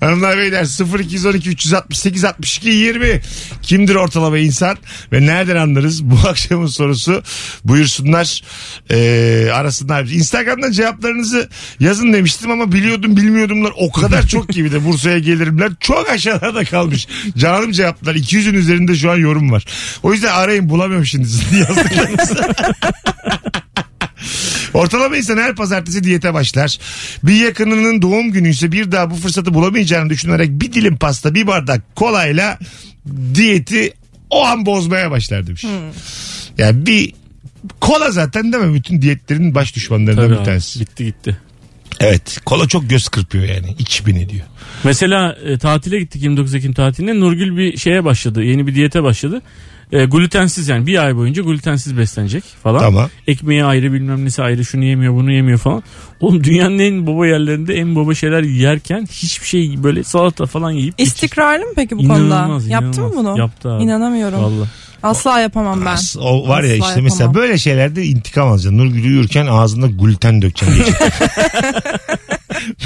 Hanımlar beyler 0212 368 62 20 kimdir ortalama insan ve nereden anlarız? Bu akşamın sorusu buyursunlar Ee, arasınlar. Instagram'dan cevaplarınızı yazın demiştim ama biliyordum bilmiyordumlar o kadar çok gibi de Bursa'ya gelirimler çok aşağıda kalmış. Canım cevaplar 200'ün üzerinde şu an yorum var. O yüzden arayın bulamıyorum şimdi sizin yazdıklarınızı. Ortalama insan her pazartesi diyete başlar. Bir yakınının doğum günü ise bir daha bu fırsatı bulamayacağını düşünerek bir dilim pasta bir bardak kolayla diyeti o an bozmaya başlar demiş. Yani bir kola zaten değil mi? Bütün diyetlerin baş düşmanlarından Tabii bir abi, tanesi. Bitti gitti. Evet kola çok göz kırpıyor yani. 2000 ediyor. Mesela e, tatile gittik 29 Ekim tatiline. Nurgül bir şeye başladı. Yeni bir diyete başladı. E, glutensiz yani bir ay boyunca glutensiz beslenecek falan. Tamam. Ekmeği ayrı bilmem nesi ayrı şunu yemiyor bunu yemiyor falan. Oğlum dünyanın en baba yerlerinde en baba şeyler yerken hiçbir şey böyle salata falan yiyip İstikrarlı mı peki bu İnanılmaz, konuda? Yaptın mı inanılmaz. bunu? Yaptı abi. İnanamıyorum. Vallahi. Asla yapamam ben. As- o var ya Asla işte mesela yapamam. böyle şeylerde intikam alacaksın. Nurgül uyurken ağzında gluten dökeceksin. gece.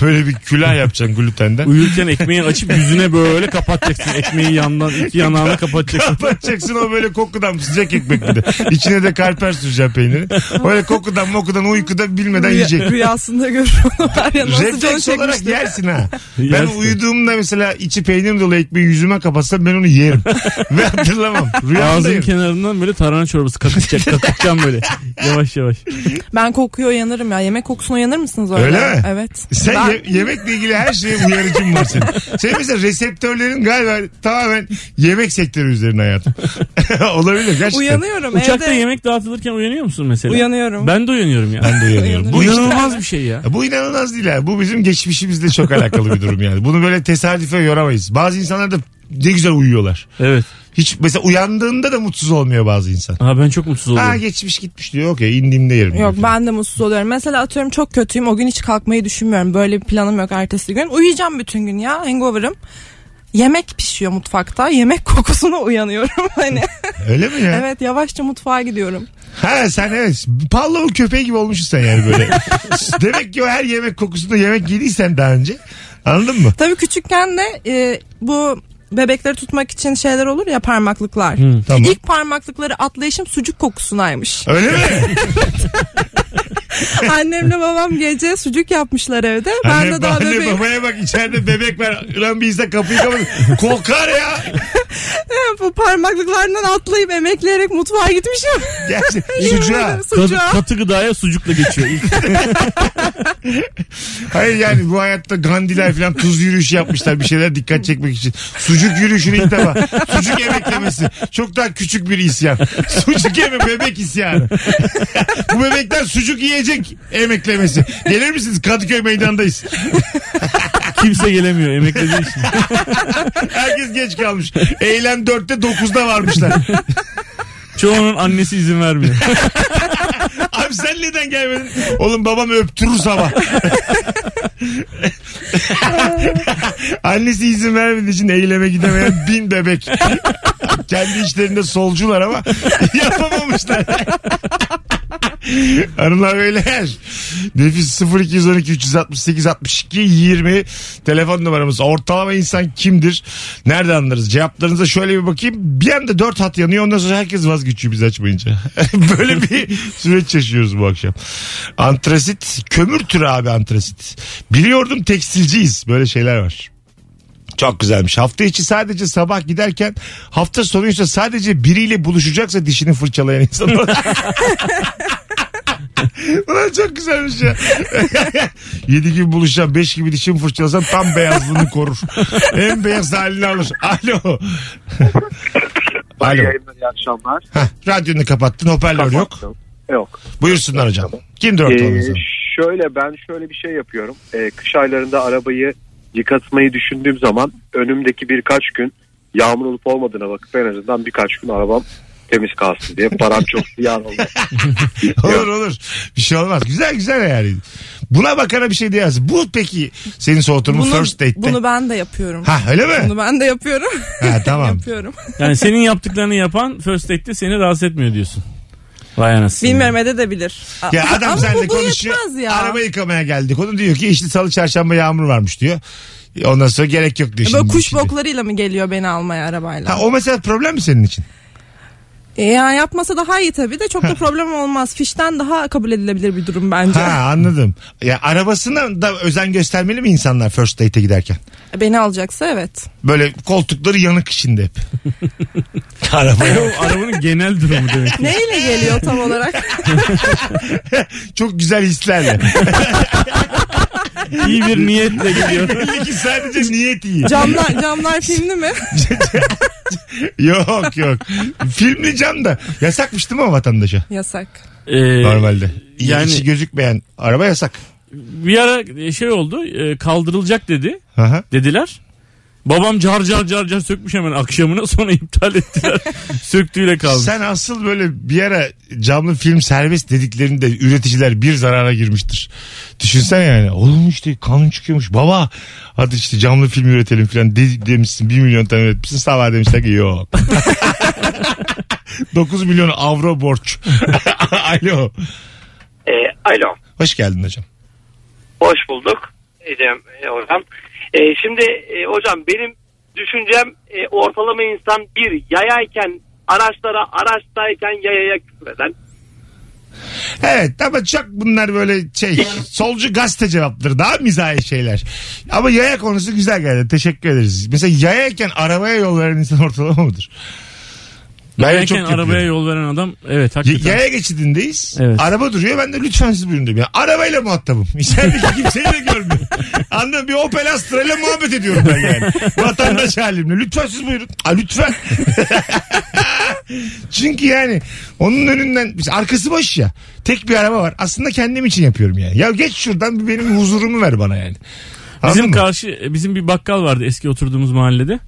böyle bir külah yapacaksın glutenden. Uyurken ekmeği açıp yüzüne böyle kapatacaksın. Ekmeği yandan iki yanağına kapatacaksın. Kapatacaksın o böyle kokudan sıcak ekmek bir de. İçine de karper süreceğim peyniri. Öyle kokudan mokudan uykuda bilmeden Rüya- yiyecek. Rüyasında görür onu var ya nasıl şey canı Refleks olarak çekmişti. yersin ha. Ben Yersin. uyuduğumda mesela içi peynir dolu ekmeği yüzüme kapatsam ben onu yerim. Ve hatırlamam. Ağzın Rüyamdayım. kenarından böyle tarhana çorbası kakışacak kakışacağım böyle. Yavaş yavaş. Ben kokuyor uyanırım ya. Yemek kokusuna uyanır mısınız öyle? Öyle mi? Evet. Sen Ben- ye- yemekle ilgili her şeye uyarıcın var senin. Senin mesela reseptörlerin galiba tamamen yemek sektörü üzerine hayatım. Olabilir gerçekten. uyanıyorum Uçakta evde. yemek dağıtılırken uyanıyor musun mesela? Uyanıyorum. Ben de uyanıyorum ya. Ben de uyanıyorum. Bu işte- İnanılmaz bir şey ya. Ya Bu inanılmaz değil ha. Bu bizim geçmişimizle çok alakalı bir durum yani. Bunu böyle tesadüfe yoramayız. Bazı insanlar da ne güzel uyuyorlar. Evet. Hiç mesela uyandığında da mutsuz olmuyor bazı insan. Aa, ben çok mutsuz Ha oldum. geçmiş gitmiş diyor. Okey indiğimde yerim. Yok diyor. ben de mutsuz oluyorum. Mesela atıyorum çok kötüyüm. O gün hiç kalkmayı düşünmüyorum. Böyle bir planım yok ertesi gün. Uyuyacağım bütün gün ya. Hangover'ım. Yemek pişiyor mutfakta. Yemek kokusuna uyanıyorum. hani Öyle mi ya? evet yavaşça mutfağa gidiyorum. Ha sen evet. Pallavul köpeği gibi olmuşsun sen yani böyle. Demek ki o her yemek kokusunda yemek yediysen daha önce. Anladın mı? Tabii küçükken de e, bu bebekleri tutmak için şeyler olur ya parmaklıklar. Tamam. İlk parmaklıkları atlayışım sucuk kokusunaymış. Öyle mi? Annemle babam gece sucuk yapmışlar evde. Ben anne, de daha anne bebeğim. babaya bak içeride bebek var. Ulan bir insan kapıyı kapatın. Kokar ya. Bu parmaklıklarından atlayıp emekleyerek mutfağa gitmişim. Gerçi Yemin sucuğa. ederim, Katı, Sucuğa. katı gıdaya sucukla geçiyor. İlk Hayır yani bu hayatta Gandhi'ler falan tuz yürüyüşü yapmışlar bir şeyler dikkat çekmek için. Sucuk yürüyüşünü ilk defa. Sucuk emeklemesi. Çok daha küçük bir isyan. Sucuk yeme bebek isyanı. bu bebekler sucuk yiyecek emeklemesi. Gelir misiniz? Kadıköy meydandayız. kimse gelemiyor emeklediği için. Herkes geç kalmış. Eylem 4'te 9'da varmışlar. Çoğunun annesi izin vermiyor. Abi sen neden gelmedin? Oğlum babam öptürür sabah. Annesi izin vermediği için eyleme gidemeyen bin bebek. Kendi işlerinde solcular ama yapamamışlar. Hanımlar beyler. Nefis 0212 368 62 20 telefon numaramız. Ortalama insan kimdir? Nerede anlarız? Cevaplarınıza şöyle bir bakayım. Bir anda dört hat yanıyor. Ondan sonra herkes vazgeçiyor biz açmayınca. Böyle bir süreç yaşıyoruz bu akşam. Antrasit. Kömür türü abi antrasit. Biliyordum tekstilciyiz. Böyle şeyler var. Çok güzelmiş. Hafta içi sadece sabah giderken hafta sonuysa sadece biriyle buluşacaksa dişini fırçalayan insanlar. Ulan çok güzelmiş ya. 7 gibi buluşacağım 5 gibi dişimi fırçalasam tam beyazlığını korur. en beyaz halini alır. Alo. Alo. iyi akşamlar. Heh, radyonu kapattın hoparlör yok. Yok. Buyursunlar hocam. Kimdir ortalama Ee, insan? şöyle ben şöyle bir şey yapıyorum. Ee, kış aylarında arabayı yıkatmayı düşündüğüm zaman önümdeki birkaç gün yağmur olup olmadığına bakıp en azından birkaç gün arabam temiz kalsın diye param çok ziyan oldu. Olur olur. Bir şey olmaz. Güzel güzel yani. Buna bakana bir şey diyemez. Bu peki senin soğutur mu first date'te? bunu ben de yapıyorum. Ha öyle mi? Bunu ben de yapıyorum. Ha tamam. yapıyorum. Yani senin yaptıklarını yapan first date'te seni rahatsız etmiyor diyorsun. Vay anasını. Bilmiyorum edebilir. Ya adam Ama seninle bu, bu konuşuyor. yetmez ya. Araba yıkamaya geldik. Onun diyor ki işte salı çarşamba yağmur varmış diyor. Ondan sonra gerek yok diyor. E, Böyle şimdi kuş şimdi. boklarıyla mı geliyor beni almaya arabayla? Ha, o mesela problem mi senin için? E, ya yapmasa daha iyi tabii de çok da problem olmaz. Fişten daha kabul edilebilir bir durum bence. Ha anladım. Ya arabasına da özen göstermeli mi insanlar first date'e giderken? Beni alacaksa evet. Böyle koltukları yanık içinde hep. Arabaya. O arabanın genel durumu demek. ki. Neyle geliyor tam olarak? Çok güzel hislerle. İyi bir niyetle geliyor. Belli ki sadece niyet iyi. Camlar, camlar filmli mi? Yok yok. Filmli cam da yasakmış değil mi o vatandaşa? Yasak. Ee, Normalde. Yani yani- içi gözükmeyen araba yasak. bir ara şey oldu e, kaldırılacak dedi. Aha. Dediler. Babam car car car car sökmüş hemen akşamına sonra iptal ettiler. Söktüğüyle kaldı. Sen asıl böyle bir ara camlı film serbest dediklerinde üreticiler bir zarara girmiştir. Düşünsen yani. Oğlum işte kanun çıkıyormuş. Baba hadi işte camlı film üretelim falan de- demişsin. Bir milyon tane üretmişsin. Sabah demişler ki yok. 9 milyon avro borç. Alo. Ee, alo. Hoş geldin hocam. Hoş bulduk Ecem e, hocam. E, şimdi e, hocam benim düşüncem e, ortalama insan bir yayayken araçlara araçtayken yayaya küfreden. Evet ama çok bunlar böyle şey solcu gazete cevapları daha mizahi şeyler. Ama yaya konusu güzel geldi. Teşekkür ederiz. Mesela yayayken arabaya yol veren insan ortalama mıdır? Ben de Yayarken yapıyorum. arabaya yol veren adam evet Y- hakikaten. Yaya geçidindeyiz. Evet. Araba duruyor. Ben de lütfen siz buyurun diyorum. Ya, arabayla muhatabım. İçerideki kimseyi de görmüyorum. Anladın mı? Bir Opel Astra ile muhabbet ediyorum ben yani. Vatandaş halimle. Lütfen siz buyurun. A, lütfen. Çünkü yani onun önünden biz- arkası boş ya. Tek bir araba var. Aslında kendim için yapıyorum yani. Ya geç şuradan bir benim huzurumu ver bana yani. Anladın Bizim mı? karşı e, bizim bir bakkal vardı eski oturduğumuz mahallede.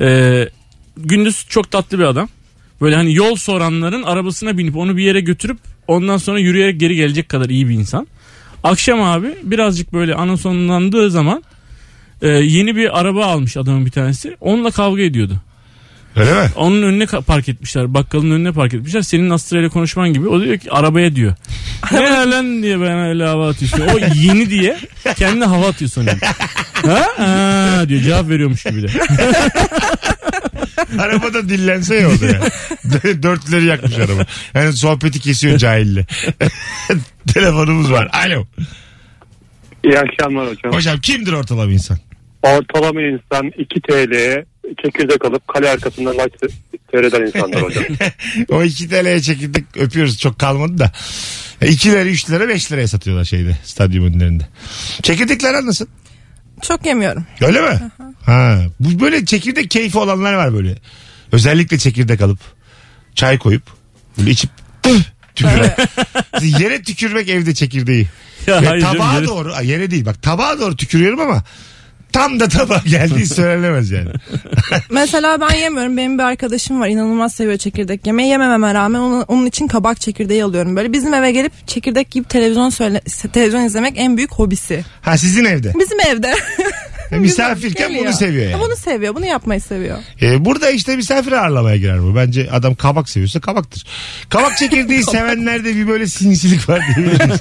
Ee, gündüz çok tatlı bir adam. Böyle hani yol soranların arabasına binip onu bir yere götürüp ondan sonra yürüyerek geri gelecek kadar iyi bir insan. Akşam abi birazcık böyle anonsonlandığı zaman e, yeni bir araba almış adamın bir tanesi. Onunla kavga ediyordu. Öyle mi? Onun önüne ka- park etmişler. Bakkalın önüne park etmişler. Senin Astra ile konuşman gibi. O diyor ki arabaya diyor. ne la lan diye ben öyle hava atıyorsun. O yeni diye kendine hava atıyor sonra. Ha? Ha diyor cevap veriyormuş gibi de. Arabada dillense ya o da ya. Dörtleri yakmış araba. Yani sohbeti kesiyor cahille. Telefonumuz var. Alo. İyi akşamlar hocam. Hocam kimdir ortalama insan? Ortalama insan 2 TL'ye çekirdek alıp kale arkasından maç seyreden insanlar hocam. O 2 TL'ye çekildik öpüyoruz çok kalmadı da. 2 lira 3 lira 5 liraya satıyorlar şeyde stadyum önlerinde. Çekirdekler anlasın. Çok yemiyorum. Öyle mi? Ha. Bu böyle çekirdek keyfi olanlar var böyle. Özellikle çekirdek alıp çay koyup böyle içip püf, tüküren. yere tükürmek evde çekirdeği. Ya Ve hayır canım, tabağa yere- doğru Ay, yere değil bak tabağa doğru tükürüyorum ama tam da tabağa geldiği söylenemez yani. Mesela ben yemiyorum. Benim bir arkadaşım var. inanılmaz seviyor çekirdek yemeği. Yemememe rağmen ona- onun için kabak çekirdeği alıyorum. Böyle bizim eve gelip çekirdek gibi televizyon söyle, televizyon izlemek en büyük hobisi. Ha sizin evde. Bizim evde. E, Misafirken bunu Geliyor. seviyor yani. Bunu seviyor. Bunu yapmayı seviyor. Ee, burada işte misafir ağırlamaya girer bu. Bence adam kabak seviyorsa kabaktır. Kabak çekirdeği sevenlerde bir böyle sinsilik var diyebiliriz.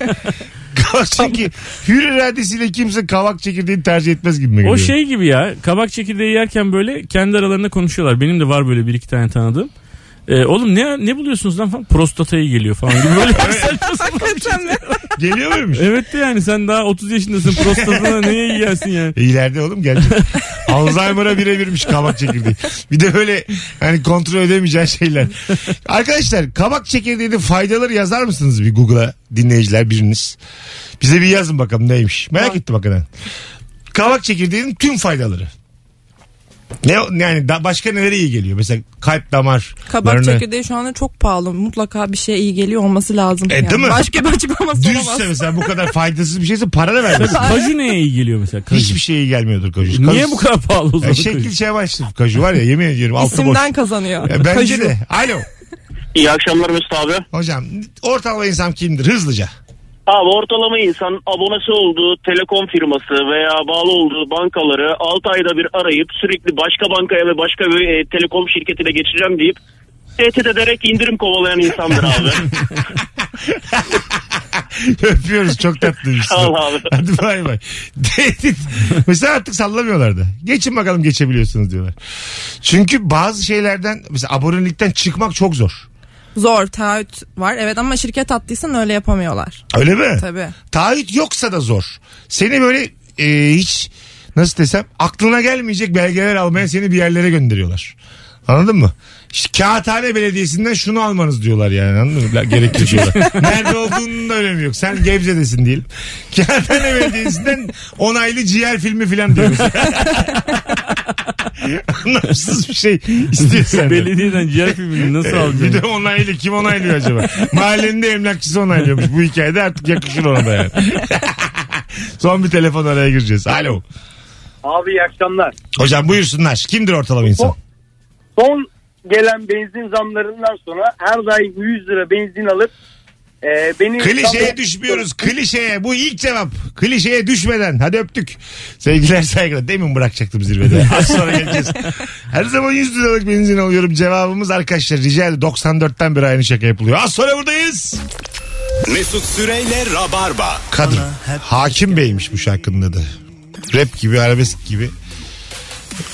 kabak çünkü hür iradesiyle kimse kabak çekirdeğini tercih etmez gibi mi geliyor? O şey gibi ya kabak çekirdeği yerken böyle kendi aralarında konuşuyorlar. Benim de var böyle bir iki tane tanıdığım. Ee, oğlum ne ne buluyorsunuz lan falan prostataya geliyor falan gibi böyle saçma sapan bir şey. Geliyor muymuş? Evet de yani sen daha 30 yaşındasın prostatına neye yiyorsun yani? E, İleride oğlum gelecek. Alzheimer'a birebirmiş kabak çekirdeği. Bir de böyle hani kontrol edemeyeceğin şeyler. Arkadaşlar kabak çekirdeğinin faydaları yazar mısınız bir Google'a dinleyiciler biriniz? Bize bir yazın bakalım neymiş. Merak ettim hakikaten. Kabak çekirdeğinin tüm faydaları. Ne o- yani da başka nelere iyi geliyor? Mesela kalp damar. Kabak larına- çekirdeği şu anda çok pahalı. Mutlaka bir şeye iyi geliyor olması lazım. E, değil mi? Başka bir açıklaması olamaz. Düzse mesela bu kadar faydasız bir şeyse para da vermez. Kaju neye iyi geliyor mesela? Kaju. Hiçbir şeye iyi gelmiyordur kaju. Niye Kaju- bu kadar pahalı o zaman? Ya şekil kaju? şey başlı kaju var ya yemin ediyorum altı boş. İsimden kazanıyor. Ya E, bence Kaju. de. Alo. İyi akşamlar Mesut abi. Hocam ortalama insan kimdir hızlıca? Abi ortalama insan abonesi olduğu telekom firması veya bağlı olduğu bankaları 6 ayda bir arayıp sürekli başka bankaya ve başka bir e, telekom şirketine geçeceğim deyip tehdit ederek indirim kovalayan insandır abi. Öpüyoruz çok tatlıymışsın. Sağ ol abi. Hadi bay bay. Tehdit. mesela artık sallamıyorlardı. Geçin bakalım geçebiliyorsunuz diyorlar. Çünkü bazı şeylerden mesela abonelikten çıkmak çok zor. Zor taahhüt var. Evet ama şirket attıysan öyle yapamıyorlar. Öyle mi? Tabii. Taahhüt yoksa da zor. Seni böyle e, hiç nasıl desem aklına gelmeyecek belgeler almaya seni bir yerlere gönderiyorlar. Anladın mı? İşte Kağıthane Belediyesi'nden şunu almanız diyorlar yani anladın mı? Gerekli diyorlar. Nerede olduğunun da önemi yok. Sen Gebze'desin diyelim. Kağıthane Belediyesi'nden onaylı ciğer filmi filan diyoruz. Anlamsız bir şey istiyorsan. Belediyeden ciğer filmini nasıl E, Ee, Bir de alacaksın? onaylı kim onaylıyor acaba? Mahallenin de emlakçısı onaylıyormuş bu hikayede artık yakışır ona da yani. Son bir telefon araya gireceğiz. Alo. Abi iyi akşamlar. Hocam buyursunlar. Kimdir ortalama insan? Son gelen benzin zamlarından sonra her daim 100 lira benzin alıp e, beni... Klişeye düşmüyoruz. Klişeye. Bu ilk cevap. Klişeye düşmeden. Hadi öptük. Sevgiler saygılar. Demin bırakacaktım zirvede. Az sonra geleceğiz. Her zaman 100 liralık benzin alıyorum. Cevabımız arkadaşlar rica ederim. 94'ten beri aynı şaka yapılıyor. Az sonra buradayız. Mesut Süreyle Rabarba. Kadın. Hakim Bey'miş bu şarkının adı. Rap gibi, arabesk gibi.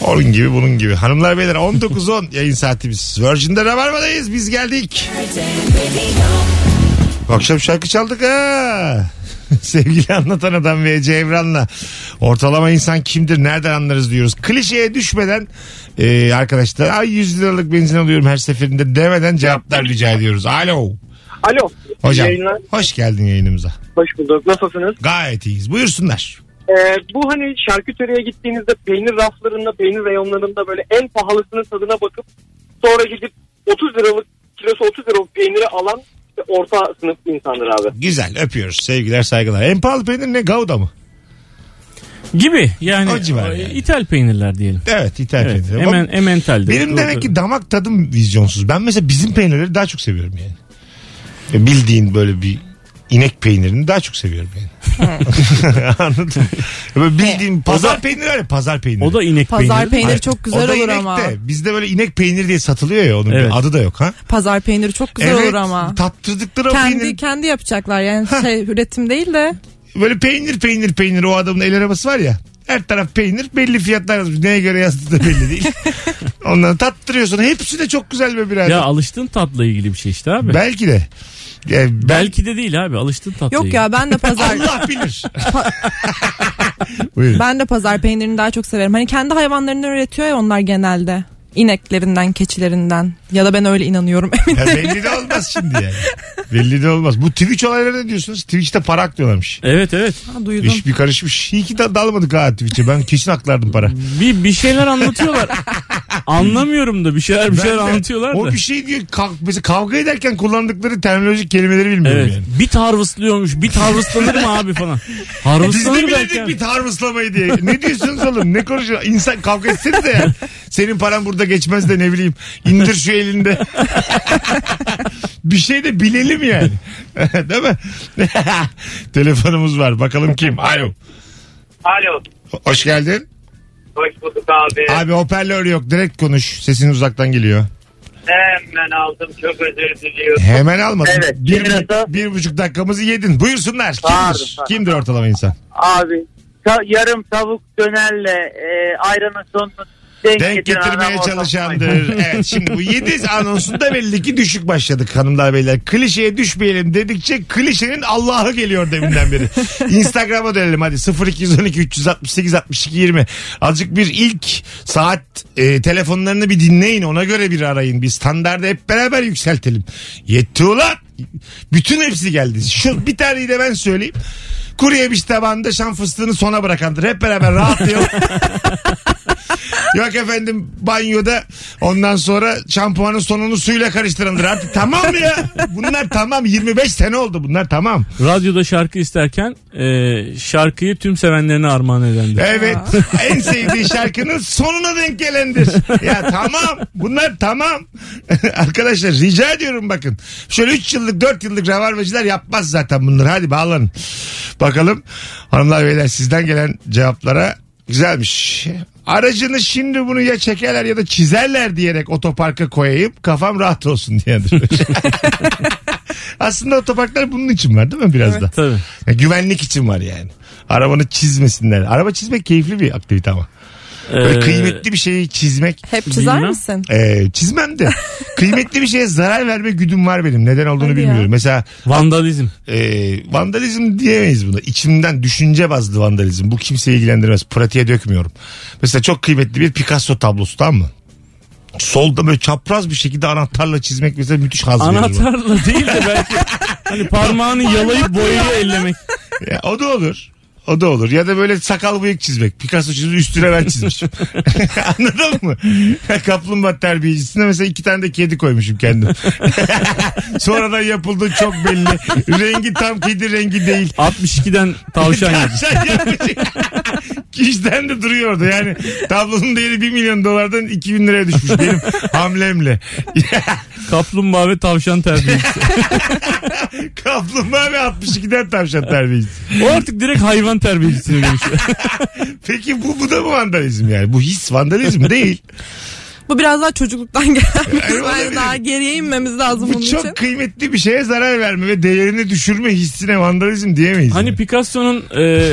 Onun gibi bunun gibi. Hanımlar beyler 19.10 yayın saatimiz. Virgin'de Rabarba'dayız biz geldik. Bu akşam şarkı çaldık ha. Sevgili anlatan adam ve Ece Evran'la ortalama insan kimdir nereden anlarız diyoruz. Klişeye düşmeden e, arkadaşlar ay 100 liralık benzin alıyorum her seferinde demeden cevaplar rica ediyoruz. Alo. Alo. Hocam Yayınlar. hoş geldin yayınımıza. Hoş bulduk. Nasılsınız? Gayet iyiyiz buyursunlar. Ee, bu hani şarküteriye gittiğinizde peynir raflarında, peynir reyonlarında böyle en pahalısının tadına bakıp sonra gidip 30 liralık kilosu 30 liralık peyniri alan işte orta sınıf insandır abi. Güzel öpüyoruz. Sevgiler saygılar. En pahalı peynir ne? Gouda mı? Gibi yani, O civar e, yani. İthal peynirler diyelim. Evet İtalya Evet, peyniri. hemen, Bak, hemen İtal'de. benim demek ki damak tadım vizyonsuz. Ben mesela bizim peynirleri daha çok seviyorum yani. E, Bildiğin böyle bir inek peynirini daha çok seviyorum yani. Anladın mı? E, Böyle bildiğin pazar peyniri var ya pazar peyniri. O da inek Pazar peyniri. peyniri Hayır, çok o güzel da olur inek ama. de. Bizde böyle inek peyniri diye satılıyor ya onun bir Evet. adı da yok ha. Pazar peyniri çok güzel evet, olur ama. Tattırdıkları o Kendi peynir. kendi yapacaklar yani şey üretim değil de. Böyle peynir peynir peynir o adamın el arabası var ya. Her taraf peynir belli fiyatlar yazmış. Neye göre yazdığı da belli değil. Onları tattırıyorsun. Hepsi de çok güzel be birader. Ya alıştığın tatla ilgili bir şey işte abi. Belki de. E, Belki de değil abi alıştın tatlıya. Yok ya ben de pazar Allah bilir. Buyurun. ben de pazar peynirini daha çok severim. Hani kendi hayvanlarından üretiyor ya onlar genelde. İneklerinden, keçilerinden ya da ben öyle inanıyorum. Ya belli de olmaz şimdi yani. Belli de olmaz. Bu Twitch olayları ne diyorsunuz? Twitch'te para aklıyorlarmış. Evet evet. Ha, Duydum. İş bir karışmış. İyi ki de dalmadık ha Twitch'e. Ben kesin aklardım para. Bir, bir şeyler anlatıyorlar. Anlamıyorum da bir şeyler bir şeyler Ben de- anlatıyorlar da. O bir şey diyor. Kav- mesela kavga ederken kullandıkları terminolojik kelimeleri bilmiyorum Evet. yani. Bit harvestlıyormuş. Bit harveslanır mı abi falan. E, Biz de Harvestlanır belki. bilemedik abi. bir tarvıslamayı diye. Ne diyorsunuz oğlum? Ne konuşuyor? İnsan kavga etseniz de yani. Senin paran burada geçmez de ne bileyim. İndir şu elinde. bir şey de bilelim yani. Değil mi? Telefonumuz var. Bakalım kim? Alo. Alo. Hoş geldin. Hoş bulduk abi. Abi hoparlör yok. Direkt konuş. Sesin uzaktan geliyor. Hemen aldım. Çok özür diliyorum. Hemen almasın. Evet, Bir, kimin hata? bir buçuk dakikamızı yedin. Buyursunlar. Kimdir? Pardon, pardon. Kimdir ortalama insan? Abi ta- yarım tavuk dönerle e, ayranın sonunu denk, Denk getiren getirmeye adam olmaz. çalışandır. evet şimdi bu 7 anonsunda belli ki düşük başladık hanımlar beyler. Klişeye düşmeyelim dedikçe klişenin Allah'ı geliyor deminden beri. Instagram'a dönelim hadi 0212 368 62 20. Azıcık bir ilk saat e, telefonlarını bir dinleyin ona göre bir arayın. Bir standardı hep beraber yükseltelim. Yetti ulan. Bütün hepsi geldi. Şu bir taneyi de ben söyleyeyim. Kuru yemiş tabağında şan fıstığını sona bırakandır. Hep beraber rahatlayalım. Yok efendim banyoda ondan sonra şampuanın sonunu suyla karıştırandır. Artık tamam mı ya? Bunlar tamam 25 sene oldu bunlar tamam. Radyoda şarkı isterken e, şarkıyı tüm sevenlerine armağan edendi. Evet en sevdiği şarkının sonuna denk gelendir. Ya tamam bunlar tamam. Arkadaşlar rica ediyorum bakın. Şöyle 3 yıllık 4 yıllık ravarvacılar yapmaz zaten bunları. Hadi bağlanın. Bakalım hanımlar beyler sizden gelen cevaplara güzelmiş. Aracını şimdi bunu ya çekerler ya da çizerler diyerek otoparka koyayım kafam rahat olsun diyendir. Aslında otoparklar bunun için var değil mi biraz da? Tabii. Ya güvenlik için var yani. Arabanı çizmesinler. Araba çizmek keyifli bir aktivite ama. Böyle Ee, kıymetli bir şeyi çizmek. Hep çizer Bilmem. misin? Ee, çizmem de kıymetli bir şeye zarar verme güdüm var benim. Neden olduğunu Hadi ya. bilmiyorum. Mesela Vandalizm. e, vandalizm diyemeyiz buna. İçimden düşünce bazlı vandalizm. Bu kimseyi ilgilendirmez. Pratiğe dökmüyorum. Mesela çok kıymetli bir Picasso tablosu tamam mı? Solda böyle çapraz bir şekilde anahtarla çizmek mesela müthiş haz verir bana. Anahtarla değil de belki hani parmağını yalayıp boyayı ellemek. Ya, o da olur. O da olur. Ya da böyle sakal bıyık çizmek. Picasso çizmiş üstüne ben çizmişim. Anladın mı? Kaplumbağa terbiyecisine mesela iki tane de kedi koymuşum kendim. Sonradan yapıldı çok belli. rengi tam kedi rengi değil. 62'den tavşan yedi. Tavşan yapmış. Kişiden de duruyordu yani. Tablonun değeri 1 milyon dolardan 2 bin liraya düşmüş benim hamlemle. Kaplumbağa ve tavşan terbiyesi. Kaplumbağa ve 62'den tavşan terbiyesi. O artık direkt hayvan terbiyesine dönüşüyor. Peki bu, bu da mı vandalizm yani? Bu his vandalizm değil. Bu biraz daha çocukluktan gelen bir Ay, his. olabilir. Bence daha geriye inmemiz lazım bunun Bu çok için. kıymetli bir şeye zarar verme ve değerini düşürme hissine vandalizm diyemeyiz. Hani yani. Picasso'nun e,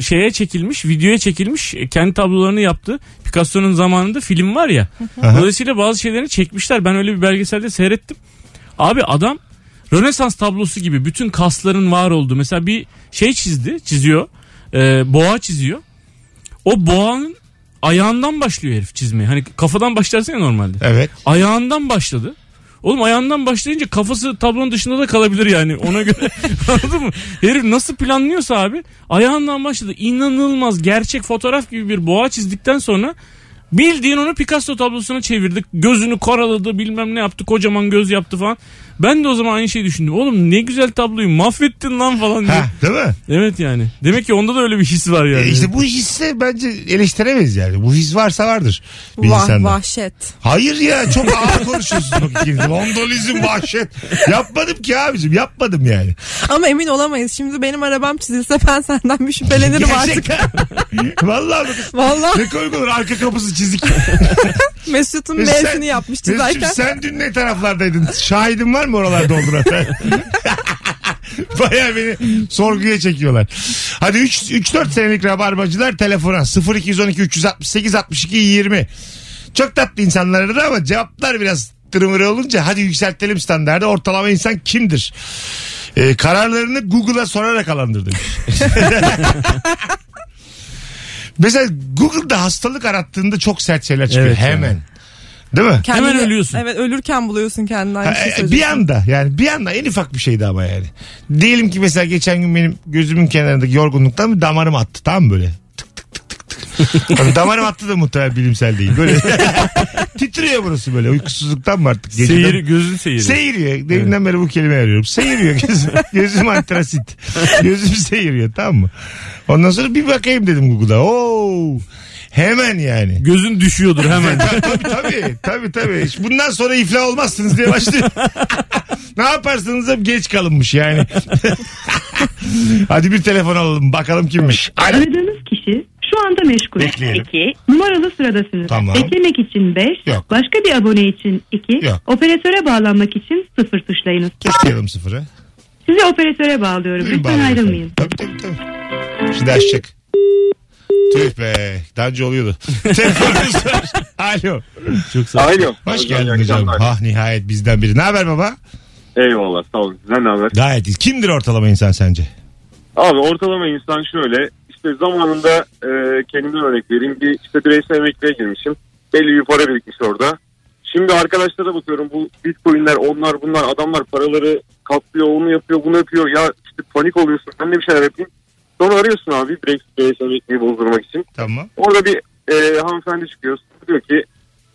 şeye çekilmiş, videoya çekilmiş, e, kendi tablolarını yaptı. Picasso'nun zamanında film var ya. Dolayısıyla bazı şeylerini çekmişler. Ben öyle bir belgeselde seyrettim. Abi adam Rönesans tablosu gibi bütün kasların var olduğu. Mesela bir şey çizdi, çiziyor. E, boğa çiziyor. O boğanın ayağından başlıyor herif çizmeye. Hani kafadan başlarsın ya normalde. Evet. Ayağından başladı. Oğlum ayağından başlayınca kafası tablonun dışında da kalabilir yani ona göre. Anladın mı? Herif nasıl planlıyorsa abi ayağından başladı. İnanılmaz gerçek fotoğraf gibi bir boğa çizdikten sonra bildiğin onu Picasso tablosuna çevirdik. Gözünü karaladı bilmem ne yaptı kocaman göz yaptı falan. Ben de o zaman aynı şeyi düşündüm. Oğlum ne güzel tabloyu mahvettin lan falan diye. Ha, değil mi? Evet yani. Demek ki onda da öyle bir his var yani. E işte bu hisse bence eleştiremeyiz yani. Bu his varsa vardır bir Vah insanda. vahşet. Hayır ya çok ağır konuşuyorsunuz bak ikiniz. Vandalizm vahşet. Yapmadım ki abicim yapmadım yani. Ama emin olamayız. Şimdi benim arabam çizilse ben senden bir şüphelenirim artık. Gerçekten. Vallahi bak. Vallahi Ne komik olur arka kapısı çizik. Mesut'un Mesut sen- B'sini yapmış Mesut'cum çizerken. sen dün ne taraflardaydın? Şahidin var mı oralarda olduğuna? Baya beni sorguya çekiyorlar. Hadi 3-4 senelik rabarbacılar telefona 0212 368 62 20. Çok tatlı insanlar aradı ama cevaplar biraz tık mırı mırı olunca hadi yükseltelim standardı. Ortalama insan kimdir? Ee, kararlarını Google'a sorarak alandır demiş. Mesela Google'da hastalık arattığında çok sert şeyler çıkıyor Evet ya. hemen. Değil mi? Hemen ölüyorsun. Evet ölürken buluyorsun şey kendini aynı Ha, e, şeyi bir söylüyorsun. anda yani bir anda en ufak bir şeydi ama yani. Diyelim ki mesela geçen gün benim gözümün kenarındaki yorgunluktan bir damarım attı tamam mı böyle? Tık tık tık tık tık. Abi damarım attı da muhtemelen bilimsel değil. Böyle titriyor burası böyle uykusuzluktan mı artık? Geceden- Seyir, gözün seyiri. Seyiriyor. Deminden beri bu kelimeyi arıyorum. Seyiriyor gözüm. gözüm antrasit. Gözüm seyiriyor tamam mı? Ondan sonra bir bakayım dedim Google'a. Oo. Hemen yani. Gözün düşüyordur hemen. tabii tabii tabii tabii. İşte Bundan sonra iflah olmazsınız diye başlıyor. ne yaparsanız hep geç kalınmış yani. Hadi bir telefon alalım bakalım kimmiş. Alo. Aradığınız kişi şu anda meşgul. Bekleyelim. 2. Numaralı sıradasınız. Tamam. Beklemek için 5. Yok. Başka bir abone için 2. Yok. Operatöre bağlanmak için 0 tuşlayınız. Tutuyorum sıfırı. Sizi operatöre bağlıyorum. Buyurun Lütfen bağlayın. ayrılmayın. Tabii tabii tabii. Şimdi açacak. Tüh be. Daha önce oluyordu. Telefonumuz var. Alo. Çok sağ ol. Alo. Hoş geldin hocam. Ah nihayet bizden biri. Ne haber baba? Eyvallah sağ olun. Sizden ne haber? Gayet iyi. Kimdir ortalama insan sence? Abi ortalama insan şöyle işte zamanında e, kendimden örnek vereyim bir işte bireysel emekliye girmişim. Belli bir para birikmiş orada. Şimdi arkadaşlara bakıyorum bu bitcoinler onlar bunlar adamlar paraları kaplıyor onu yapıyor bunu yapıyor. Ya işte panik oluyorsun ben de bir şeyler yapayım. Sonra arıyorsun abi birey- bireysel emekliyi bozdurmak için. Tamam. Orada bir e, hanımefendi çıkıyor. Diyor ki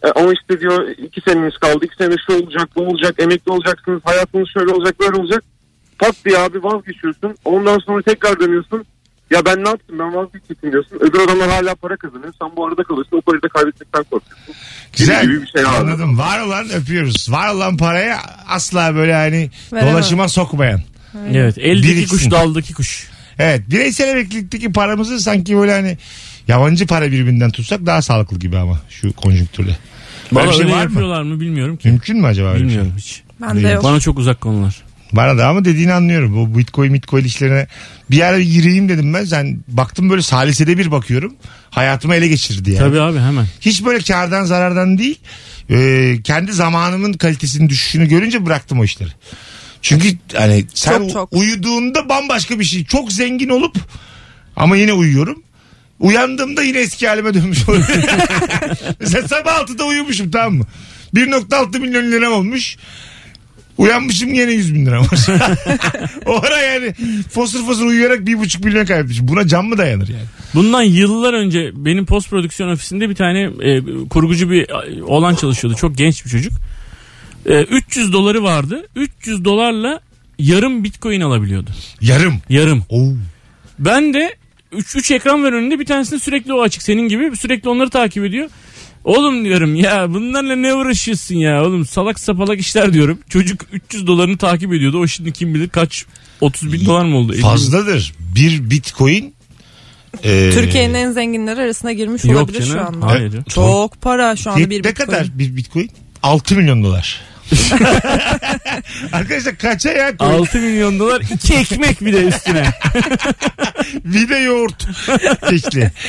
e, ama işte diyor iki seneniz kaldı. iki sene şu olacak bu olacak emekli olacaksınız. Hayatınız şöyle olacak böyle olacak. Pat diye abi vazgeçiyorsun. Ondan sonra tekrar dönüyorsun. Ya ben ne yaptım ben vazgeçtim diyorsun. Öbür adamlar hala para kazanıyor. Sen bu arada kalıyorsun. O parayı da kaybetmekten korkuyorsun. Güzel. Gibi bir şey abi. Anladım. Var olan öpüyoruz. Var olan paraya asla böyle hani Veremem. dolaşıma sokmayan. Evet. Eldeki Biriksin. kuş daldaki kuş. Evet. Bireysel emeklilikteki paramızı sanki böyle hani yabancı para birbirinden tutsak daha sağlıklı gibi ama şu konjüktürle. Böyle bir Valla şey öyle var mı? yapıyorlar mı bilmiyorum ki. Mümkün mü acaba öyle bir şey? Bilmiyorum hiç. Ben de yok. Bana çok uzak konular. Bana da ama dediğini anlıyorum. Bu bitcoin bitcoin işlerine bir ara bir gireyim dedim ben. Sen baktım böyle salisede bir bakıyorum. Hayatımı ele geçirdi yani. Tabii abi hemen. Hiç böyle kardan zarardan değil. Ee, kendi zamanımın kalitesinin düşüşünü görünce bıraktım o işleri. Çünkü hani sen Çok, çok. uyuduğunda bambaşka bir şey. Çok zengin olup ama yine uyuyorum. Uyandığımda yine eski halime dönmüş oluyorum. Mesela sabah 6'da uyumuşum tamam mı? 1.6 milyon lira olmuş. Uyanmışım yine 100 bin lira var. o ara yani fosur fosur uyuyarak 1.5 milyon kaybetmişim. Buna can mı dayanır yani? Bundan yıllar önce benim post prodüksiyon ofisinde bir tane e, kurgucu bir e, oğlan çalışıyordu. Çok genç bir çocuk. E, 300 doları vardı. 300 dolarla yarım bitcoin alabiliyordu. Yarım. Yarım. Oo. Ben de 3 3 ekran var önünde bir tanesini sürekli o açık senin gibi sürekli onları takip ediyor. Oğlum diyorum ya bunlarla ne uğraşıyorsun ya oğlum salak sapalak işler diyorum. Çocuk 300 dolarını takip ediyordu. O şimdi kim bilir kaç 30 bin dolar mı oldu? 50 bin- Fazladır. Bir bitcoin. e, Türkiye'nin en zenginleri arasına girmiş Yok olabilir canım. şu anda. Hayır. Çok para şu anda ne- bir ne bitcoin. kadar bir bitcoin? 6 milyon dolar. Arkadaşlar kaça ya? koyun? 6 milyon dolar iki ekmek bir de üstüne. Bir de yoğurt. Keşli.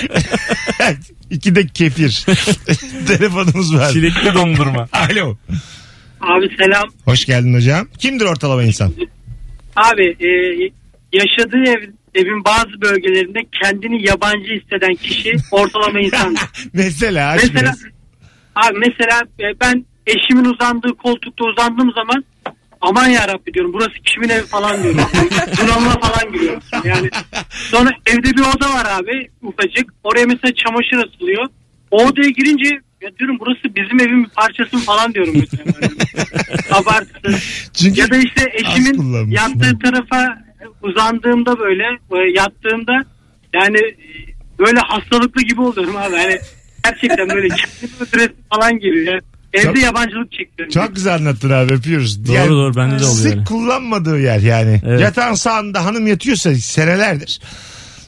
İki de kefir. Telefonumuz var. Çilekli dondurma. Alo. Abi selam. Hoş geldin hocam. Kimdir ortalama insan? Abi e, yaşadığı ev, evin bazı bölgelerinde kendini yabancı hisseden kişi ortalama insan. Mesela aç mesela biraz. abi mesela e, ben eşimin uzandığı koltukta uzandığım zaman aman ya Rabbi diyorum burası kimin evi falan diyorum. Bunalıma falan giriyorum. Yani sonra evde bir oda var abi ufacık. Oraya mesela çamaşır asılıyor. O odaya girince ya diyorum burası bizim evin bir parçası mı falan diyorum mesela. Yani Abartısız. Çünkü Ya da işte az eşimin kullanmış. yattığı tarafa uzandığımda böyle e, yattığımda yani e, böyle hastalıklı gibi oluyorum abi. Hani gerçekten böyle kendimi öldüresim falan geliyor. Yani evde Çok- yabancılık çekiyorum. çok güzel anlattın abi öpüyoruz. Doğru, doğru, bende de oluyor Sık öyle. kullanmadığı yer yani. Evet. Yatağın sağında hanım yatıyorsa senelerdir.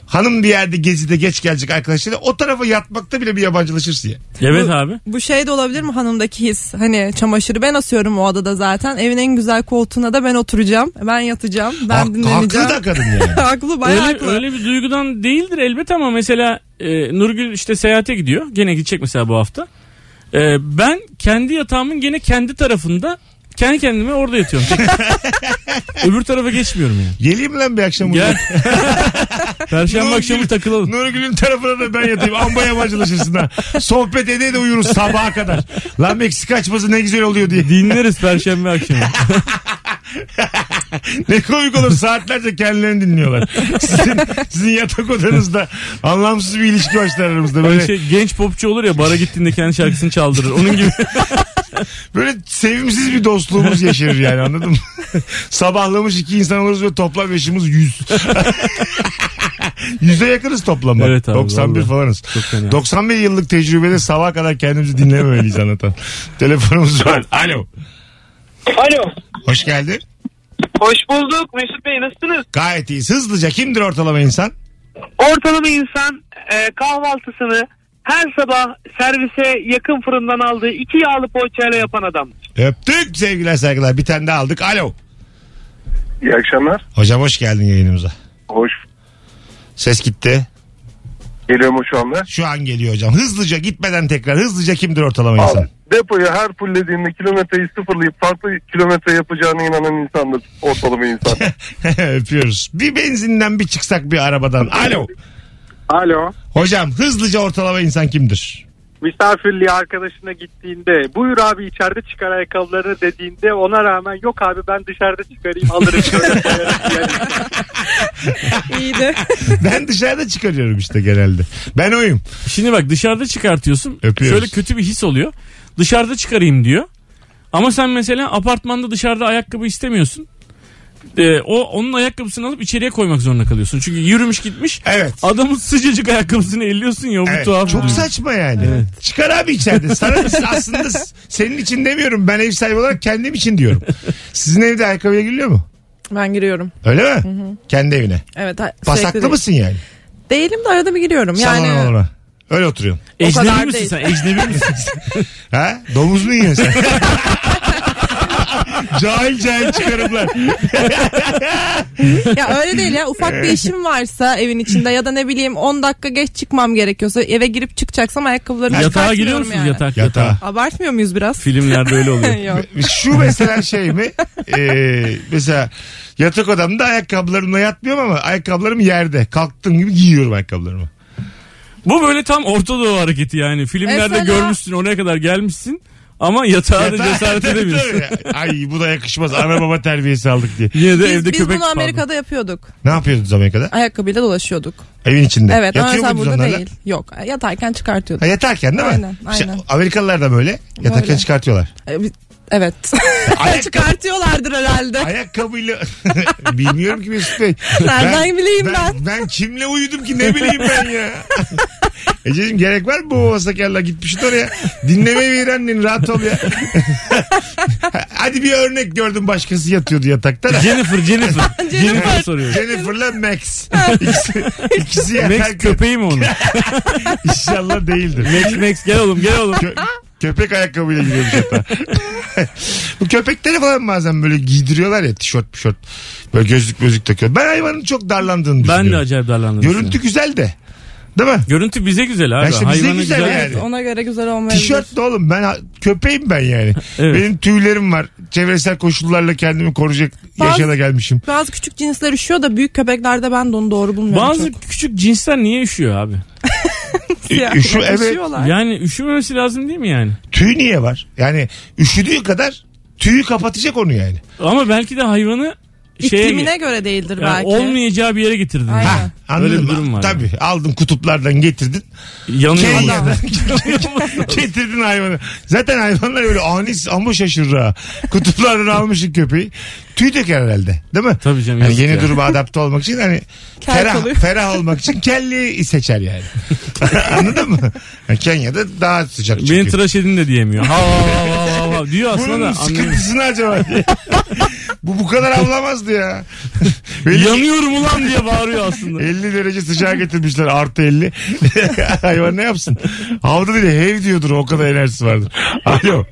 Hanım bir yerde gezide geç gelecek arkadaşlarıyla o tarafa yatmakta bile bir yabancılaşırsın ya. Evet abi. Bu şey de olabilir mi hanımdaki his? Hani çamaşırı ben asıyorum o odada zaten. Evin en güzel koltuğuna da ben oturacağım. Ben yatacağım. Ben Hak- dinleneceğim. haklı da kadın yani. haklı bayağı öyle, haklı. öyle bir duygudan değildir elbet ama mesela e, Nurgül işte seyahate gidiyor. Gene gidecek mesela bu hafta. Ee, ben kendi yatağımın gene kendi tarafında kendi kendime orada yatıyorum. Öbür tarafa geçmiyorum yani. Geleyim lan bir akşam Gel. buraya. Perşembe akşamı takılalım. Nurgül'ün tarafına da ben yatayım. Amba yabancılaşırsın ha. Sohbet ede de uyuruz sabaha kadar. Lan Meksika açması ne güzel oluyor diye. Dinleriz perşembe akşamı. Ne komik olur saatlerce kendilerini dinliyorlar. Sizin, sizin yatak odanızda anlamsız bir ilişki başlar aramızda. Böyle Böyle, şey, genç popçu olur ya bara gittiğinde kendi şarkısını çaldırır. Onun gibi. böyle sevimsiz bir dostluğumuz yaşarır yani anladın mı? Sabahlamış iki insan oluruz ve toplam yaşımız yüz. Yüze yakınız toplam bak. Evet abi, 91 vallahi. falanız. Çok fena. 91 yıllık tecrübede sabaha kadar kendimizi dinlememeliyiz anlatan. Telefonumuz var. Alo. Alo. Hoş geldin. Hoş bulduk Mesut Bey nasılsınız? Gayet iyiyiz. Hızlıca kimdir ortalama insan? Ortalama insan e, kahvaltısını her sabah servise yakın fırından aldığı iki yağlı poğaçayla yapan adam. Öptük sevgiler saygılar. Bir tane daha aldık. Alo. İyi akşamlar. Hocam hoş geldin yayınımıza. Hoş. Ses gitti. Geliyor mu şu anda? Şu an geliyor hocam. Hızlıca gitmeden tekrar. Hızlıca kimdir ortalama insan? Depoyu her fullediğinde kilometreyi sıfırlayıp farklı kilometre yapacağına inanan insandır ortalama insan. Öpüyoruz. Bir benzinden bir çıksak bir arabadan. Alo. Alo. Hocam hızlıca ortalama insan kimdir? Misafirliğe arkadaşına gittiğinde buyur abi içeride çıkar ayakkabılarını dediğinde ona rağmen yok abi ben dışarıda çıkarayım alırım. şöyle koyarım diyen İyiydi. ben dışarıda çıkarıyorum işte genelde. Ben oyum. Şimdi bak dışarıda çıkartıyorsun. Öpüyoruz. Şöyle kötü bir his oluyor. Dışarıda çıkarayım diyor. Ama sen mesela apartmanda dışarıda ayakkabı istemiyorsun. Ee, o onun ayakkabısını alıp içeriye koymak zorunda kalıyorsun. Çünkü yürümüş gitmiş. Evet. Adamın sıcacık ayakkabısını elliyorsun ya bu Evet, tuhaf. çok oluyor. saçma yani. Çıkar abi içeride. Sana aslında senin için demiyorum. Ben ev sahibi olarak kendim için diyorum. Sizin evde ayakkabıya giriliyor mu? Ben giriyorum. Öyle mi? Kendi evine. Evet. ha- sürekli Pasaklı değil. mısın yani? Değilim de arada bir giriyorum. Yani... Yani Öyle oturuyorsun. O kadar Ecnebi misin değil. sen? Ecnebi misin? Ha? Domuz mu yiyorsun sen? cahil cahil çıkarımlar. ya öyle değil ya ufak bir işim varsa evin içinde ya da ne bileyim 10 dakika geç çıkmam gerekiyorsa eve girip çıkacaksam ayakkabılarımı Yatağa çıkartmıyorum giriyor musunuz yani. yatak Yatağa. yatağa? Abartmıyor muyuz biraz? Filmlerde öyle oluyor. Yok. Şu mesela şey mi? Ee, mesela yatak odamda ayakkabılarımla yatmıyorum ama ayakkabılarım yerde. Kalktığım gibi giyiyorum ayakkabılarımı. Bu böyle tam Orta Doğu hareketi yani. Filmlerde Mesela- görmüşsün oraya kadar gelmişsin. Ama yatağa da Yatağa- cesaret Tabii, edemiyorsun. tabii. Ay bu da yakışmaz. Ana baba terbiyesi aldık diye. Yine de Biz, evde biz köpek bunu pardon. Amerika'da yapıyorduk. Ne yapıyordunuz Amerika'da? Ayakkabıyla dolaşıyorduk. Evin içinde. Evet ama Yatıyor mesela muydunuz burada onlarla? değil. Yok yatarken Ha, çıkartıyorduk. yatarken değil mi? Aynen, İşte aynen. Amerikalılar da böyle. Yatarken Böyle. çıkartıyorlar. Ee, biz- Evet. Ayakkabı- Çıkartıyorlardır herhalde. Ayakkabıyla bilmiyorum ki Mesut Bey. Nereden bileyim ben? kimle uyudum ki ne bileyim ben ya. Ececiğim gerek var mı bu vasakarla gitmişsin oraya. Dinleme ver annen rahat ol ya. Hadi bir örnek gördüm başkası yatıyordu yatakta da. Jennifer, Jennifer. Jennifer soruyor. Jennifer'la Max. İkisi, ikisi Max yatarken köpeği mi onun? inşallah değildir. Max Max gel oğlum gel oğlum. Kö- köpek ayakkabıyla giriyormuş hatta. Bu köpekleri falan bazen böyle giydiriyorlar ya tişört tişört. Böyle gözlük gözlük takıyor. Ben hayvanın çok darlandığını Ben de düşünüyorum. acayip darlandım. Görüntü güzel de. Değil mi? Görüntü bize güzel abi. Ya işte bize Hayvanı güzel güzel. yani. Evet, ona göre güzel olmayabilir. Tişört de oğlum ben ha- köpeğim ben yani. Evet. Benim tüylerim var. Çevresel koşullarla kendimi koruyacak Bazı- yaşa da gelmişim. Bazı küçük cinsler üşüyor da büyük köpeklerde ben de onu doğru bulmuyorum. Bazı çok. küçük cinsler niye üşüyor abi? Ya, üşü- şey evet. üşüyorlar. Yani üşümemesi lazım değil mi yani? Tüy niye var? Yani üşüdüğü kadar tüyü kapatacak onu yani. Ama belki de hayvanı şey şeye İklimine göre değildir yani belki. olmayacağı bir yere getirdin. Aynen. Ha, anladın Öyle bir mı? durum var Tabii aldın kutuplardan getirdin. Yanıyor. adam. Kenya'dan getirdin hayvanı. Zaten hayvanlar öyle anis ama şaşırır ha. Kutuplardan almışsın köpeği. Tüy döker herhalde değil mi? Tabii canım, Yani yazık yeni ya. duruma adapte olmak için hani Kel ferah, kalıyor. ferah olmak için kelli seçer yani. Anladın mı? Yani Kenya'da daha sıcak çünkü. Beni tıraş edin de diyemiyor. Ha, ha, ha, ha, ha, ha. Diyor aslında Bunun da anlamıyorum. sıkıntısı ne acaba? diye. bu bu kadar avlamazdı ya. Belli Yanıyorum ulan diye bağırıyor aslında. 50 derece sıcağa getirmişler artı 50. Hayvan ne yapsın? Havda değil hev diyordur o kadar enerjisi vardır. Alo.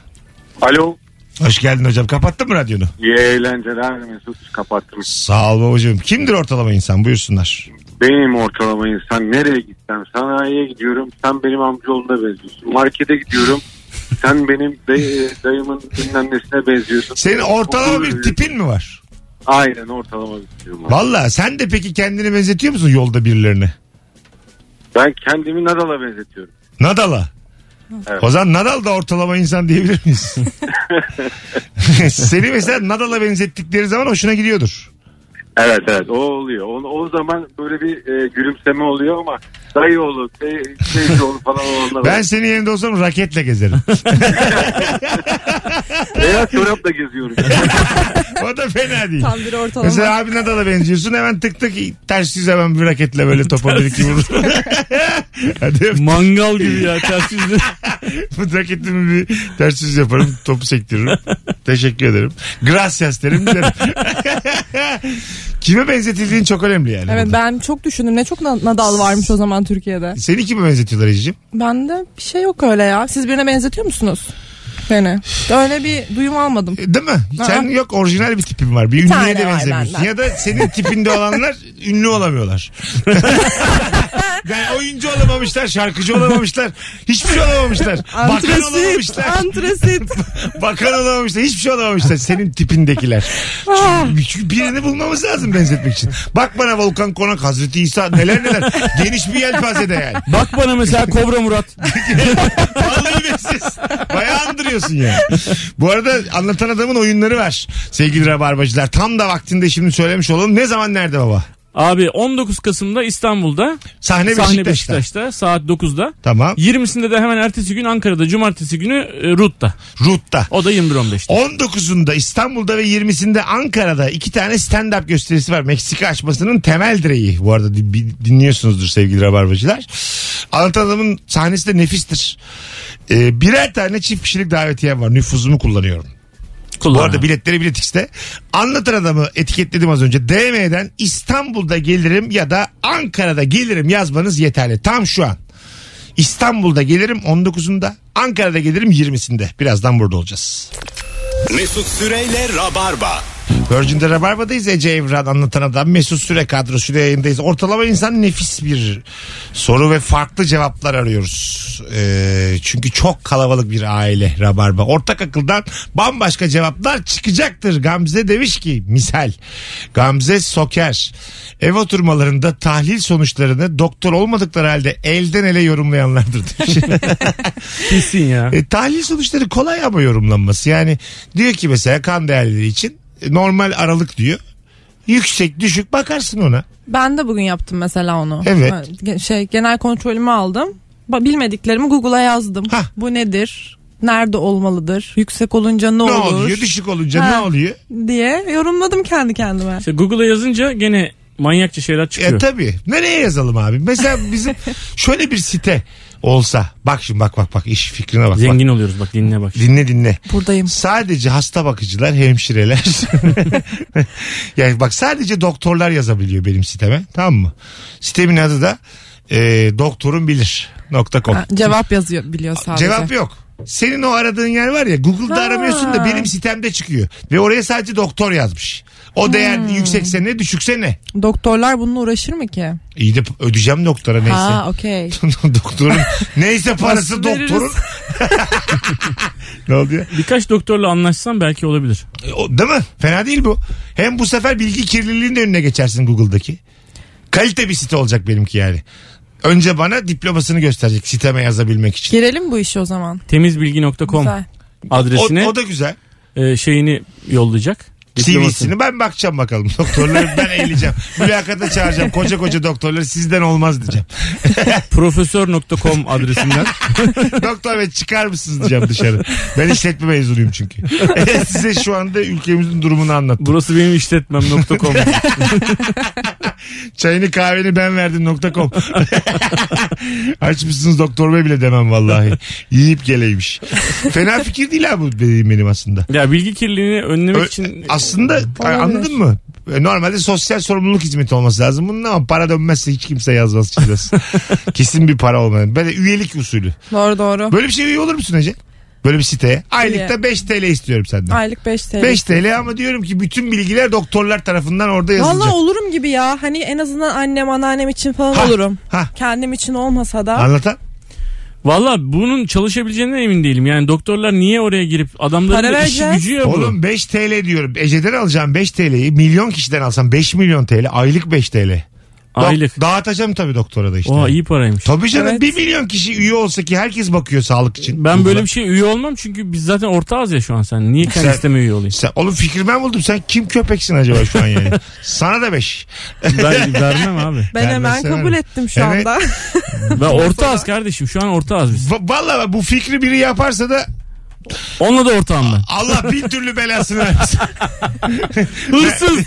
Alo. Hoş geldin hocam. Kapattın mı radyonu? İyi eğlenceler Mesut. Kapattım. Sağ ol babacığım. Kimdir ortalama insan? Buyursunlar. Benim ortalama insan nereye gitsem sanayiye gidiyorum sen benim amcaoğluna benziyorsun. Markete gidiyorum sen benim dayı, dayımın bilmem nesine benziyorsun. Senin ortalama bir tipin mi var? Aynen ortalama bir tipim var. Valla sen de peki kendini benzetiyor musun yolda birilerine? Ben kendimi Nadal'a benzetiyorum. Nadal'a. Evet. O zaman Nadal da ortalama insan diyebilir miyiz? Seni mesela Nadal'a benzettikleri zaman hoşuna gidiyordur. Evet evet o oluyor. O, o zaman böyle bir e, gülümseme oluyor ama dayı oğlu, tey- teyze oğlu falan olanlar. Ben senin yerinde olsam raketle gezerim. Beyaz çorapla geziyorum. o da fena değil. Tam bir ortalama. Mesela abi Nadal'a benziyorsun hemen tık tık ters yüz hemen bir raketle böyle topa bir iki vurur. Mangal gibi ya ters yüzle. Raketimi bir ters yüz yaparım topu sektiririm. Teşekkür ederim. Gracias derim giderim. kime benzetildiğin çok önemli yani. Evet ben çok düşündüm. Ne çok na- Nadal varmış o zaman Türkiye'de. Seni kime benzetiyorlar Ececiğim? Bende bir şey yok öyle ya. Siz birine benzetiyor musunuz? Beni. Öyle bir duyum almadım. E, Değil mi? Sen yok orijinal bir tipin var. Bir, ünlüye tane de var benzemiyorsun. benden. Ya da senin tipinde olanlar ünlü olamıyorlar. yani oyuncu olamamışlar, şarkıcı olamamışlar. Hiçbir şey olamamışlar. Bakan Antresit. olamamışlar. Antresit. Bakan olamamışlar. Hiçbir şey olamamışlar. Senin tipindekiler. Çünkü- çünkü birini bulmamız lazım benzetmek için. Bak bana Volkan Konak, Hazreti İsa neler neler. Geniş bir yelpazede yani. Bak bana mesela Kobra Murat. Vallahi benziyorsun. Bayağı andırıyorsun yani. Bu arada anlatan adamın oyunları var. Sevgili Rabarbacılar. Tam da vaktinde şimdi söylemiş olalım. Ne zaman nerede baba? Abi 19 Kasım'da İstanbul'da. Sahne Beşiktaş'ta. Beşiktaş'ta saat 9'da. Tamam. 20'sinde de hemen ertesi gün Ankara'da. Cumartesi günü e, RUT'ta. RUT'ta. O da 21.15'te. 19'unda İstanbul'da ve 20'sinde Ankara'da iki tane stand-up gösterisi var. Meksika açmasının temel direği. Bu arada di- bi- dinliyorsunuzdur sevgili rabarbacılar. Anlatan adamın sahnesi de nefistir. Ee, birer tane çift kişilik davetiyem var. Nüfuzumu kullanıyorum. Bu arada biletleri Bilet X'te. Anlatan adamı etiketledim az önce. DM'den İstanbul'da gelirim ya da Ankara'da gelirim yazmanız yeterli. Tam şu an. İstanbul'da gelirim 19'unda. Ankara'da gelirim 20'sinde. Birazdan burada olacağız. Mesut Süreyle Rabarba. Virgin'de Rabarba'dayız. Ece Evran anlatan adam Mesut Süre kadrosuyla yayındayız. Ortalama insan nefis bir soru ve farklı cevaplar arıyoruz. Ee, çünkü çok kalabalık bir aile Rabarba. Ortak akıldan bambaşka cevaplar çıkacaktır. Gamze demiş ki misal Gamze Soker ev oturmalarında tahlil sonuçlarını doktor olmadıkları halde elden ele yorumlayanlardır demiş. Kesin ya. E, tahlil sonuçları kolay ama yorumlanması. Yani diyor ki mesela kan değerleri için e, normal aralık diyor. Yüksek düşük bakarsın ona. Ben de bugün yaptım mesela onu. Evet. Ha, ge- Şey genel kontrolümü aldım. Ba- Bilmediklerimi Google'a yazdım. Bu nedir? Nerede olmalıdır? Yüksek olunca ne, Ne olur? oluyor? Düşük olunca Ha, ne oluyor? E, Diye yorumladım kendi kendime. İşte Google'a yazınca gene manyakça şeyler çıkıyor. E tabii. Nereye yazalım abi? Mesela bizim şöyle bir site olsa. Bak şimdi bak bak bak iş fikrine bak. Zengin oluyoruz bak dinle bak. Dinle dinle. Buradayım. Sadece hasta bakıcılar, hemşireler. yani bak sadece doktorlar yazabiliyor benim siteme. Tamam mı? Sitemin adı da e, doktorumbilir.com. Ha, Cevap yazıyor biliyor sadece. Cevap yok. Senin o aradığın yer var ya Google'da Ha. aramıyorsun da benim sitemde çıkıyor. Ve oraya sadece doktor yazmış. Hmm. O değer yüksekse ne düşükse ne? Doktorlar bununla uğraşır mı ki? İyi de ödeyeceğim doktora neyse. Ha okey. doktorun neyse parası Nasıl veririz? doktorun. ne oldu ya? Birkaç doktorla anlaşsam belki olabilir. E, o- Değil mi? Fena değil bu. Hem bu sefer bilgi kirliliğinin de önüne geçersin Google'daki. Kalite bir site olacak benimki yani. Önce bana diplomasını gösterecek siteme yazabilmek için. Girelim bu işi o zaman. Temizbilgi.com Güzel. adresine O, o da güzel. e, şeyini yollayacak. Diplomasını. CV'sini ben bakacağım bakalım. Doktorları ben eğileceğim. Mülakata çağıracağım. Koca koca doktorları sizden olmaz diyeceğim. Profesör.com adresinden. Doktor bey çıkar mısınız diyeceğim dışarı. Ben işletme mezunuyum çünkü. Size şu anda ülkemizin durumunu anlattım. Burası benim işletmem.com. Çayını kahveni ben verdim nokta com. Aç mısınız doktor bey bile demem vallahi. Yiyip geleymiş. Fena fikir değil ha bu dediğim benim aslında. ya bilgi kirliliğini önlemek Ö- için e, Aslında Olabilir. anladın mı? E, Normalde sosyal sorumluluk hizmeti olması lazım. Bunun ama para dönmezse hiç kimse yazmaz çizmez. Kesin bir para olmayan. Böyle üyelik usulü. Doğru doğru. Böyle bir şey iyi olur musun Ece? Böyle bir siteye. İyi. Aylıkta 5 TL istiyorum senden. Aylık 5 TL. 5 TL ama diyorum ki bütün bilgiler doktorlar tarafından orada yazılacak. Valla olurum gibi ya. Hani en azından annem anneannem için falan Ha, olurum. ha. Kendim için olmasa da. Anlatan. Valla bunun çalışabileceğine emin değilim. Yani doktorlar niye oraya girip adamların da işi gücü ya bu. Oğlum 5 TL diyorum. Ece'den alacağım 5 TL'yi milyon kişiden alsam 5 milyon TL aylık 5 TL. Aylık. dağıtacağım tabii doktora da işte. Oha iyi paraymış. Tabii canım Evet. 1 milyon kişi üye olsa ki herkes bakıyor sağlık için. Ben böyle bir şey üye olmam çünkü biz zaten ortağız ya şu an sen. Niye kendi Sen- sisteme üye olayım? Sen, oğlum fikir ben buldum. Sen kim köpeksin acaba şu an yani? Sana da 5. Ben vermem abi. Ben hemen kabul ettim şu Evet. anda. Ben ortağız kardeşim şu an ortağız biz. Valla bu fikri biri yaparsa da Onunla da ortağım ben. Allah bin türlü belasını versin. Hırsız.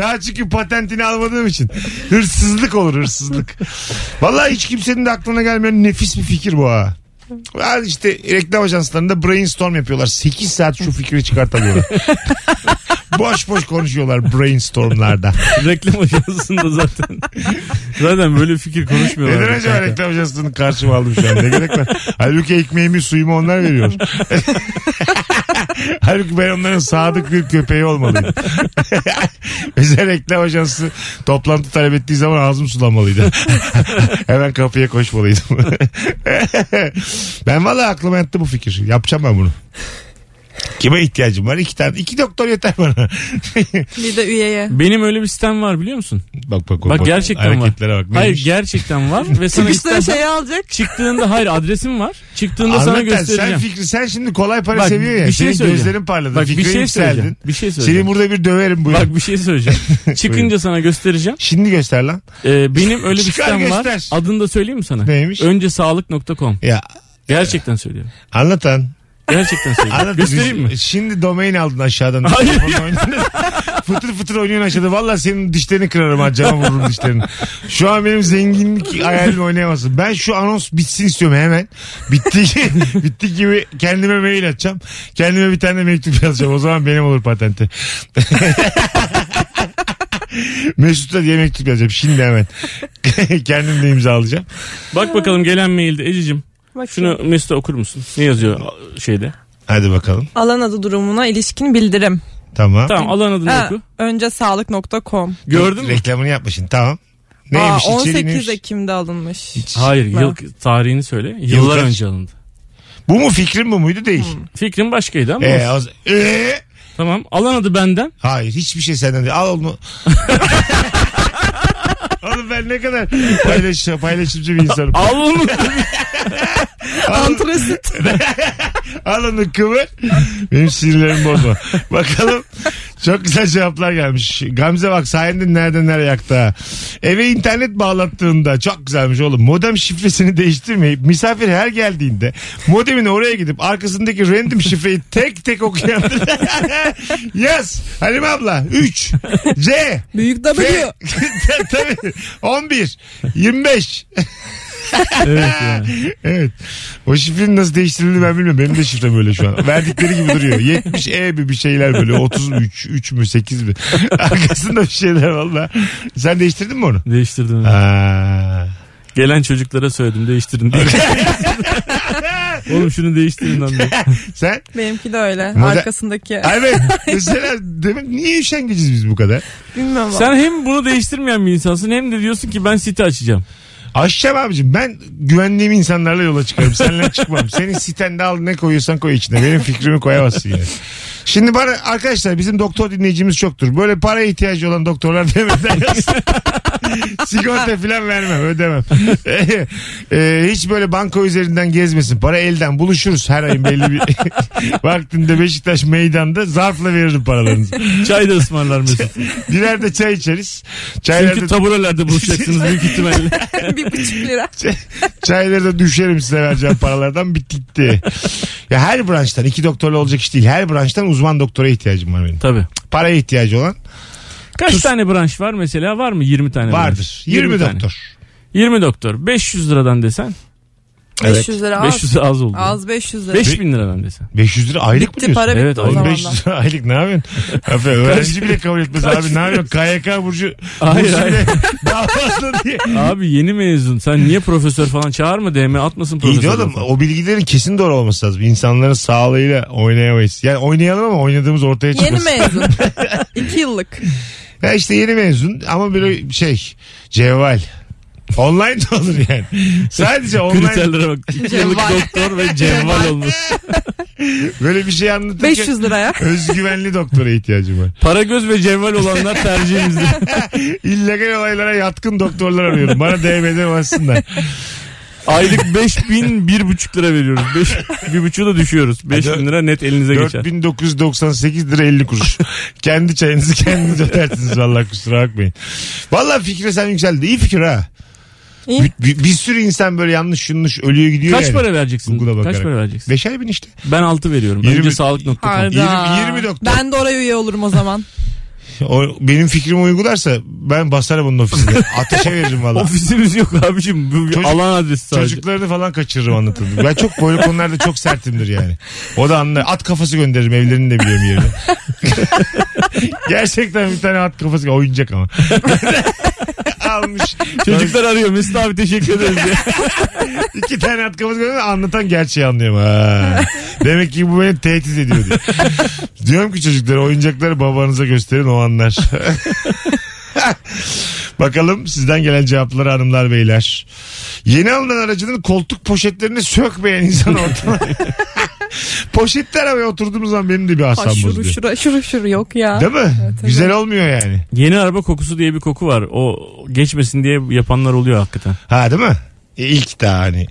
Daha çünkü patentini almadığım için. Hırsızlık olur hırsızlık. Vallahi hiç kimsenin de aklına gelmeyen nefis bir fikir bu ha. Yani işte reklam ajanslarında brainstorm yapıyorlar. 8 saat şu fikri çıkartamıyorlar. boş boş konuşuyorlar brainstormlarda. Reklam ajansında zaten. Zaten böyle fikir konuşmuyorlar. Neden acaba reklam ajansının karşıma aldım şu an? Ne gerek var? Halbuki ekmeğimi suyumu onlar veriyor. Halbuki ben onların sadık bir köpeği olmalıydım. Bize reklam ajansı toplantı talep ettiği zaman ağzım sulanmalıydı. Hemen kapıya koşmalıydım. ben vallahi aklıma yattı bu fikir. Yapacağım ben bunu. Kime ihtiyacım var? İki tane. iki doktor yeter bana. Bir de üyeye. Benim öyle bir sistem var biliyor musun? bak bak Bak gerçekten var. Hareketlere bak. Hayır Neymiş? gerçekten var. Ve sana Çıkışta istersen- şey alacak. çıktığında hayır adresim var. Çıktığında sana Anlatan, göstereceğim. Sen fikri sen şimdi kolay para Bak, seviyor ya. bir şey Senin söyleyeceğim. gözlerin parladı. Bak, bir Fikri şey yükseldin. söyleyeceğim. Bir şey söyleyeceğim. Seni burada bir döverim buyurun. Bak bir şey söyleyeceğim. Çıkınca sana göstereceğim. Şimdi göster lan. Ee, benim öyle bir Çıkar sistem var. göster. Adını da söyleyeyim mi sana? Neymiş? Önce sağlık.com. Ya Gerçekten söylüyorum. anlatan. Gerçekten söylüyorum. Anlat. Göstereyim mi? Şimdi domain aldın aşağıdan. Hayır. Telefonla oynadın. fıtır fıtır oynuyorsun aşağıda. Valla senin dişlerini kırarım ha cama vururum dişlerini. Şu an benim zenginlik hayalimle oynayamazsın. Ben şu anons bitsin istiyorum hemen. Bitti, bitti gibi kendime mail atacağım. Kendime bir tane mektup yazacağım. O zaman benim olur patenti. Mesut'a diye mektup yazacağım. Şimdi hemen. Kendim de imzalayacağım. Bak bakalım gelen mailde Ececiğim. Bakayım. Şunu Mesut'a okur musun? Ne yazıyor şeyde? Hadi bakalım. Alan adı durumuna ilişkin bildirim. Tamam. Tamam alan adını Ha, oku. önce sağlık.com. Gördün mü? Reklamını yapmışsın. Tamam. Aa, Neymiş? Aa, 18 Ekim'de alınmış. Hayır yıl tarihini söyle. Yıllar kaç? önce alındı. Bu mu fikrin bu muydu? Değil. Hmm, Fikrim başkaydı ama. Ee, olsun. az- Ee? Tamam alan adı benden. Hayır hiçbir şey senden değil. Al onu. Oğlum ben ne kadar paylaş, paylaşımcı bir insanım. Al onu. Antresit. Al onu kıvır. Benim sinirlerimi bozma. Bakalım. Çok güzel cevaplar gelmiş. Gamze bak sayende nereden nereye yaktı ha. Eve internet bağlattığında çok güzelmiş oğlum. Modem şifresini değiştirmeyip misafir her geldiğinde modemin oraya gidip arkasındaki random şifreyi tek tek okuyan. Yaz. Halime abla 3 C Büyük F W. Tabii. 11 25 evet yani. Evet. O şifrenin nasıl değiştirildiğini ben bilmiyorum. Benim de şifrem öyle şu an. Verdikleri gibi duruyor. 70 E bir bir şeyler böyle. 33, 3 mü 8 mi? Arkasında bir şeyler valla. Sen değiştirdin mi onu? Değiştirdim. evet. Aa. Gelen çocuklara söyledim değiştirin diye. Oğlum şunu değiştirin lan. diye. Sen? Benimki de öyle. Moda- Arkasındaki. Evet. Mesela demek niye üşengeciz biz bu kadar? Bilmiyorum. Sen hem bunu değiştirmeyen bir insansın hem de diyorsun ki ben site açacağım. Aşacağım abicim ben güvendiğim insanlarla yola çıkarım. Seninle çıkmam. Senin sitende al ne koyuyorsan koy içine. Benim fikrimi koyamazsın yani. Şimdi bana arkadaşlar bizim doktor dinleyicimiz çoktur. Böyle paraya ihtiyacı olan doktorlar demeden yazsın. Sigorta falan vermem ödemem. Ee, e, hiç böyle banka üzerinden gezmesin. Para elden buluşuruz her ayın belli bir vaktinde Beşiktaş meydanda zarfla veririm paralarınızı. Çay da ısmarlar Mesut. Birer de çay içeriz. Çaylarda Çünkü taburelerde buluşacaksınız büyük ihtimalle. bir buçuk lira. Çayları da düşerim size vereceğim paralardan bitti gitti. Ya her branştan iki doktorla olacak iş değil. Her branştan uzman doktora ihtiyacım var benim. Tabii. Paraya ihtiyacı olan Kaç tane branş var mesela? Var mı 20 tane? branş? vardır. 20, tane. doktor. 20 doktor. 500 liradan desen. Evet. 500 lira az. 500 lira az oldu. Az 500 lira. 5000 lira ben desem. 500 lira aylık Bitti, mı diyorsun? para bitti Evet, o aylık. Oğlum zamanlar. 500 lira aylık ne yapıyorsun? Aferin, öğrenci bile kabul etmez Kaç- abi ne yapıyorsun? KYK Burcu Hayır, Burcu hayır. bile daha fazla diye. Abi yeni mezun. Sen niye profesör falan çağırma DM atmasın İyi profesör. de oğlum o bilgilerin kesin doğru olması lazım. İnsanların sağlığıyla oynayamayız. Yani oynayalım ama oynadığımız ortaya çıkmasın. Yeni mezun. 2 yıllık. Ya işte yeni mezun ama böyle şey cevval. Online de olur yani. Sadece online Kriterlere bak. İki yıllık Cevval. doktor ve cevval olmuş. böyle bir şey anlatırken 500 liraya. özgüvenli doktora ihtiyacım var. Para göz ve cevval olanlar tercihimizde. İllegal olaylara yatkın doktorlar arıyorum. Bana DM'den varsınlar. Aylık 5000 1,5 lira veriyoruz. 5 1,5'u da düşüyoruz. 5000 lira net elinize geçer. 4998 lira 50 kuruş. kendi çayınızı kendiniz ödersiniz vallahi kusura bakmayın. Vallahi fikre sen yükseldi. İyi fikir ha. İyi. Bir, bir- bir sürü insan böyle yanlış yanlış ölüyor gidiyor Kaç yani. para vereceksin? Google'a bakarak. Kaç para vereceksin? Beşer bin işte. Ben 6 veriyorum. Yirmi- Önce sağlık.com. Hayda. 20 20 doktor. Ben de oraya üye olurum o zaman. O, benim fikrimi uygularsa ben basarım onun ofisine. Ateşe veririm valla. Ofisimiz yok abicim. Bu bir Çocuk- alan adresi sadece. Çocuklarını falan kaçırırım anlatıldı. Ben çok böyle konularda çok sertimdir yani. O da anlar. At kafası gönderirim evlerini de biliyorum yerine. Gerçekten bir tane at kafası oyuncak ama. Almış. Çocuklar arıyor. Mesut abi teşekkür ederiz diye. İki tane at kafası gönderiyor anlatan gerçeği anlıyorum. Ha. Demek ki bu beni tehdit ediyor diye. Diyorum ki çocuklara oyuncakları babanıza gösterin o anlar. Bakalım sizden gelen cevapları hanımlar beyler. Yeni alınan aracının koltuk poşetlerini sökmeyen insan ortama. Poşetli arabaya oturduğumuz zaman benim de bir asam Ha, şuru bozuluyor. şura şuru şuru yok ya. Değil mi? Evet, Güzel evet. olmuyor yani. Yeni araba kokusu diye bir koku var. O geçmesin diye yapanlar oluyor hakikaten. Ha değil mi? E, ilk daha hani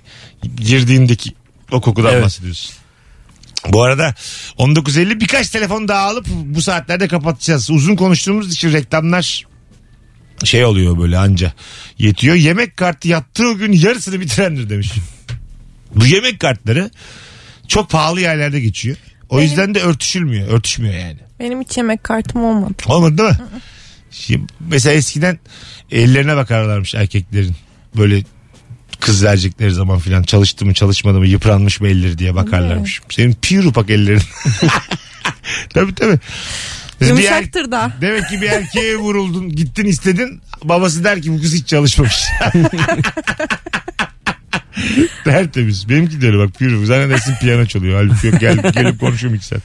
girdiğindeki o kokudan Evet. bahsediyorsun. Bu arada 19.50 birkaç telefon daha alıp bu saatlerde kapatacağız. Uzun konuştuğumuz için reklamlar şey oluyor böyle anca yetiyor. Yemek kartı yattığı gün yarısını bitirendir demiş. Bu yemek kartları çok pahalı yerlerde geçiyor. O yüzden de örtüşülmüyor. Örtüşmüyor yani. Benim hiç yemek kartım olmadı. Olmadı değil mi? Şimdi mesela eskiden ellerine bakarlarmış erkeklerin. Böyle kız verecekleri zaman filan çalıştı mı çalışmadı mı yıpranmış mı elleri diye bakarlarmış. Senin pir upak ellerin. tabii tabii. Biz bir er- Yumuşaktır da. Demek ki bir erkeğe vuruldun gittin istedin babası der ki bu kız hiç çalışmamış. Tertemiz. Benimki de öyle bak pür. Zannedersin piyano çalıyor. Halbuki yok gel, gelip konuşuyorum iki saat.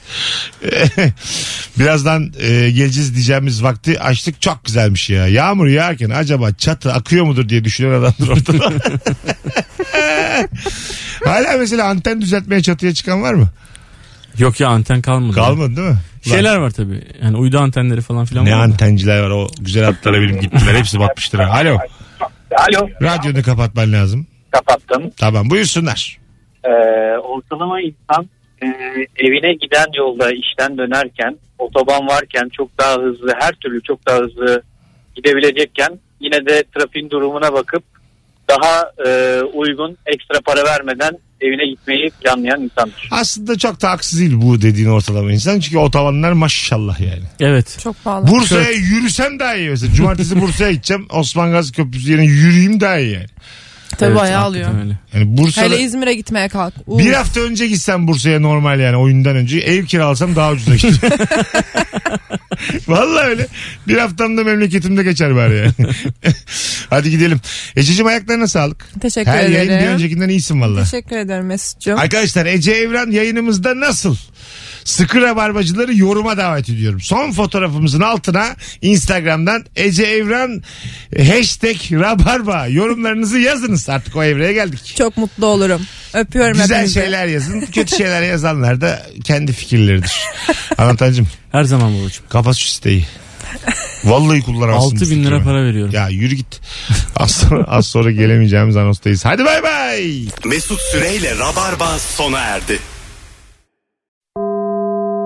Birazdan e, geleceğiz diyeceğimiz vakti açtık. Çok güzelmiş ya. Yağmur yağarken acaba çatı akıyor mudur diye düşünen adamdır ortada. Hala mesela anten düzeltmeye çatıya çıkan var mı? Yok ya anten kalmadı. Kalmadı değil mi? Ulan Şeyler var tabii. Yani uydu antenleri falan filan Ne var. antenciler var o güzel atlara benim gittiler. Hepsi batmış lira. Alo. Alo. Radyonu kapatman lazım. Kapattım. Tamam buyursunlar. Ee, ortalama insan e, evine giden yolda işten dönerken otoban varken çok daha hızlı her türlü çok daha hızlı gidebilecekken yine de trafiğin durumuna bakıp daha e, uygun ekstra para vermeden evine gitmeyi planlayan insandır. Aslında çok da haksız değil bu dediğin ortalama insan. Çünkü o tavanlar maşallah yani. Evet. Çok pahalı. Bursa'ya yürüsem daha iyi mesela. Cumartesi Bursa'ya gideceğim. Osman Gazi Köprüsü yerine yürüyeyim daha iyi yani. Tabii evet, bayağı hakikaten alıyor. öyle. Yani Bursa'da Hele İzmir'e gitmeye kalk. Uf. bir hafta önce gitsem Bursa'ya normal yani oyundan önce ev kiralasam daha ucuza gidiyor. Vallahi öyle. Bir haftam da memleketimde geçer bari yani. Hadi gidelim. Ececiğim ayaklarına sağlık. Teşekkür Her yayın bir ederim. öncekinden iyisin valla. Teşekkür ederim Mesut'cum. Arkadaşlar Ece Evren yayınımızda nasıl? Sıkı rabarbacıları yoruma davet ediyorum. Son fotoğrafımızın altına Instagram'dan Ece Evren hashtag rabarba yorumlarınızı yazınız. Artık o evreye geldik. Çok mutlu olurum. Öpüyorum Güzel hepinizi. şeyler yazın. Kötü şeyler yazanlar da kendi fikirleridir. Anlatancım Her zaman babacığım. kapat şu siteyi. Vallahi kullanamazsın. 6000 bu lira fikri. para veriyorum. Ya yürü git. Az sonra, az sonra gelemeyeceğimiz anonstayız. Hadi bay bay. Mesut Süreyle Rabarba sona erdi.